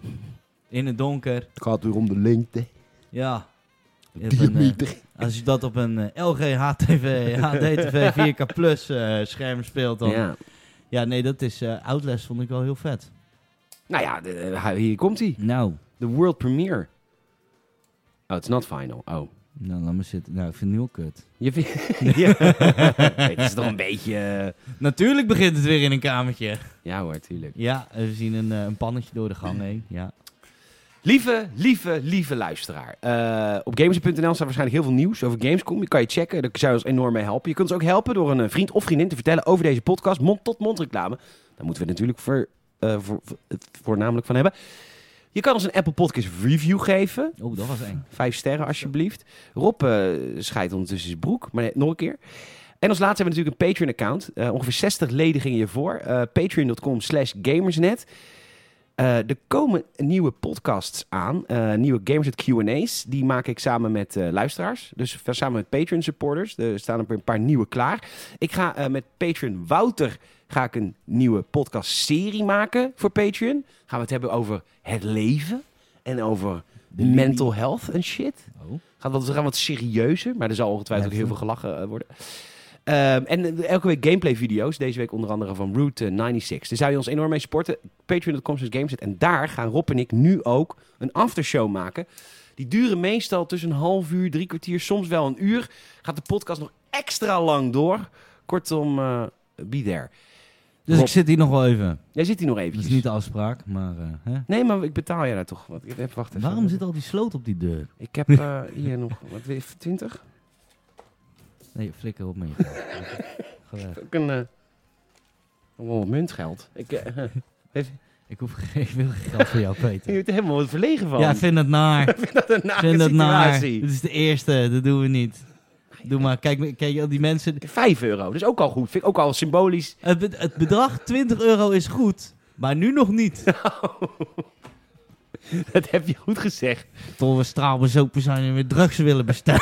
[SPEAKER 1] In het donker.
[SPEAKER 2] Het gaat weer om de lengte.
[SPEAKER 1] Ja. Op een, eh, als je dat op een eh, LG HTV, HDTV 4K Plus eh, scherm speelt dan. Ja.
[SPEAKER 2] Ja.
[SPEAKER 1] nee, dat is eh Outlast vond ik wel heel vet.
[SPEAKER 2] Nou ja, de- de- hier komt hij.
[SPEAKER 1] Nou,
[SPEAKER 2] De world premiere. Oh, it's not final. Oh.
[SPEAKER 1] nou laat me zitten. Nou, ik vind het nu al kut.
[SPEAKER 2] Je vindt... ja. Nee, Het is toch een beetje... eh,
[SPEAKER 1] Natuurlijk begint het weer in een kamertje.
[SPEAKER 2] Ja hoor, tuurlijk.
[SPEAKER 1] Ja, we zien een, eh, een pannetje door de gang heen. Ja.
[SPEAKER 2] Lieve, lieve, lieve luisteraar. Eh, op gamers.nl staat waarschijnlijk heel veel nieuws over Gamescom. Je kan je checken, daar zou je ons enorm mee helpen. Je kunt ons ook helpen door een eh, vriend of vriendin te vertellen over deze podcast. Mond-tot-mond reclame. Daar moeten we natuurlijk voor, eh, voor, voor- het voornamelijk van hebben. Je kan ons een Apple Podcast review geven.
[SPEAKER 1] Oh, dat was eng.
[SPEAKER 2] Vijf sterren alsjeblieft. Rob eh scheidt ondertussen zijn broek, maar nee, nog een keer. En als laatste hebben we natuurlijk een Patreon-account. Eh, ongeveer 60 leden gingen hiervoor. Eh Patreon.com slash gamersnet. Eh, er komen nieuwe podcasts aan. eh, nieuwe Gamersnet Q&A's. Die maak ik samen met eh, luisteraars. Dus samen met Patreon-supporters. Er staan er een paar nieuwe klaar. Ik ga eh, met Patreon Wouter ga ik een nieuwe podcast-serie maken voor Patreon. Gaan we het hebben over het leven. En over mental health en shit.
[SPEAKER 1] Oh.
[SPEAKER 2] Gaat wat, we gaan wat serieuzer, maar er zal ongetwijfeld ook heel
[SPEAKER 1] Even.
[SPEAKER 2] veel gelachen eh, worden. Ehm, en eh, elke week gameplay video's. Deze week onder andere van Route eh, 96. Daar zou je ons enorm mee sporten. Patreon.com slash gameset. En daar gaan Rob en ik nu ook een aftershow maken. Die duren meestal tussen een half uur, drie kwartier, soms wel een uur. Gaat de podcast nog extra lang door. Kortom, eh be there.
[SPEAKER 1] Dus
[SPEAKER 2] Rob.
[SPEAKER 1] ik zit hier nog wel even.
[SPEAKER 2] Jij zit hier nog
[SPEAKER 1] Dat is
[SPEAKER 2] eventjes.
[SPEAKER 1] niet de afspraak, maar... eh, hè?
[SPEAKER 2] Nee, maar ik betaal je daar toch wat. Ik- Even, wacht even.
[SPEAKER 1] Waarom zit al die sloot op die deur?
[SPEAKER 2] Ik heb eh, hier nog, wat, 20?
[SPEAKER 1] Nee, flikker op mee. Ga weg.
[SPEAKER 2] ook een. eh oh, muntgeld. Ik eh,
[SPEAKER 1] ik, hoef, geen- ik wil geen geld voor jou,
[SPEAKER 2] je
[SPEAKER 1] Peter.
[SPEAKER 2] wordt er helemaal wat verlegen van.
[SPEAKER 1] Ja, ik vind het naar. Ik
[SPEAKER 2] dat een nare
[SPEAKER 1] vind het naar.
[SPEAKER 2] situatie.
[SPEAKER 1] Dit is de eerste, dat doen we niet. Doe maar, kijk, kijk al die mensen...
[SPEAKER 2] 5 euro, dus ook al goed. Vind ik ook al symbolisch.
[SPEAKER 1] Het, be- het bedrag 20 euro is goed, maar nu nog niet.
[SPEAKER 2] Dat heb je goed gezegd.
[SPEAKER 1] Tot we straalbezopen zijn en weer drugs willen bestellen.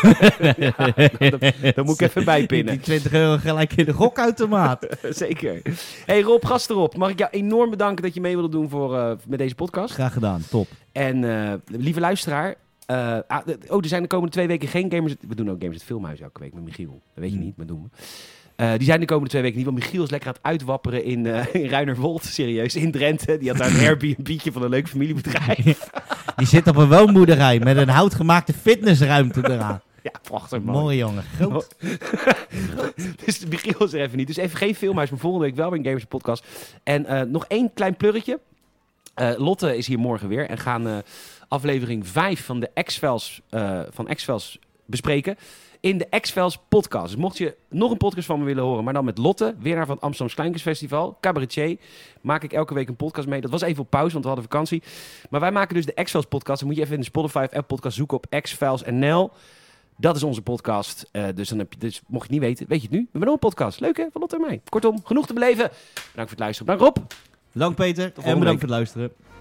[SPEAKER 2] Nou, Dat moet ik even
[SPEAKER 1] Die
[SPEAKER 2] bijpinnen.
[SPEAKER 1] 20 euro gelijk in de gokautomaat.
[SPEAKER 2] Zeker. hey Rob, gast erop. Mag ik jou enorm bedanken dat je mee wilde doen voor, eh, met deze podcast.
[SPEAKER 1] Graag gedaan, top.
[SPEAKER 2] En eh, lieve luisteraar. eh, ah, d- oh, er zijn de komende twee weken geen gamers. We doen ook gamers het filmhuis elke week met Michiel. Dat weet je
[SPEAKER 1] Hmm.
[SPEAKER 2] niet, maar doen we. Eh, die zijn de komende twee weken niet, want Michiel is lekker aan het uitwapperen in, eh, in Ruinerwold, serieus, in Drenthe. Die had daar een Airbnb'tje van een leuk familiebedrijf.
[SPEAKER 1] Die zit op een woonboerderij met een houtgemaakte fitnessruimte eraan.
[SPEAKER 2] ja, prachtig man.
[SPEAKER 1] Mooi jongen, groot.
[SPEAKER 2] Dus Michiel is er even niet. Dus even geen filmhuis, maar volgende week wel weer een Gamers podcast. En eh, nog één klein plurretje. Eh, Lotte is hier morgen weer en gaan eh, aflevering 5 van de X-Files, eh, van X-Files bespreken in de X-Files podcast. Dus mocht je nog een podcast van me willen horen, maar dan met Lotte, winnaar van het Amsterdam Kleinkunstfestival, cabaretier, maak ik elke week een podcast mee. Dat was even op pauze, want we hadden vakantie. Maar wij maken dus de X-Files podcast. Dan moet je even in de Spotify of Apple podcast zoeken op X-Files NL. Dat is onze podcast. Eh, dus, dan heb je, dus mocht je het niet weten, weet je het nu. We hebben nog een podcast. Leuk hè, van Lotte en mij. Kortom, genoeg te beleven. Bedankt voor het luisteren. Bedankt Rob.
[SPEAKER 1] Bedankt Peter en
[SPEAKER 2] volgende
[SPEAKER 1] bedankt
[SPEAKER 2] week.
[SPEAKER 1] voor het luisteren.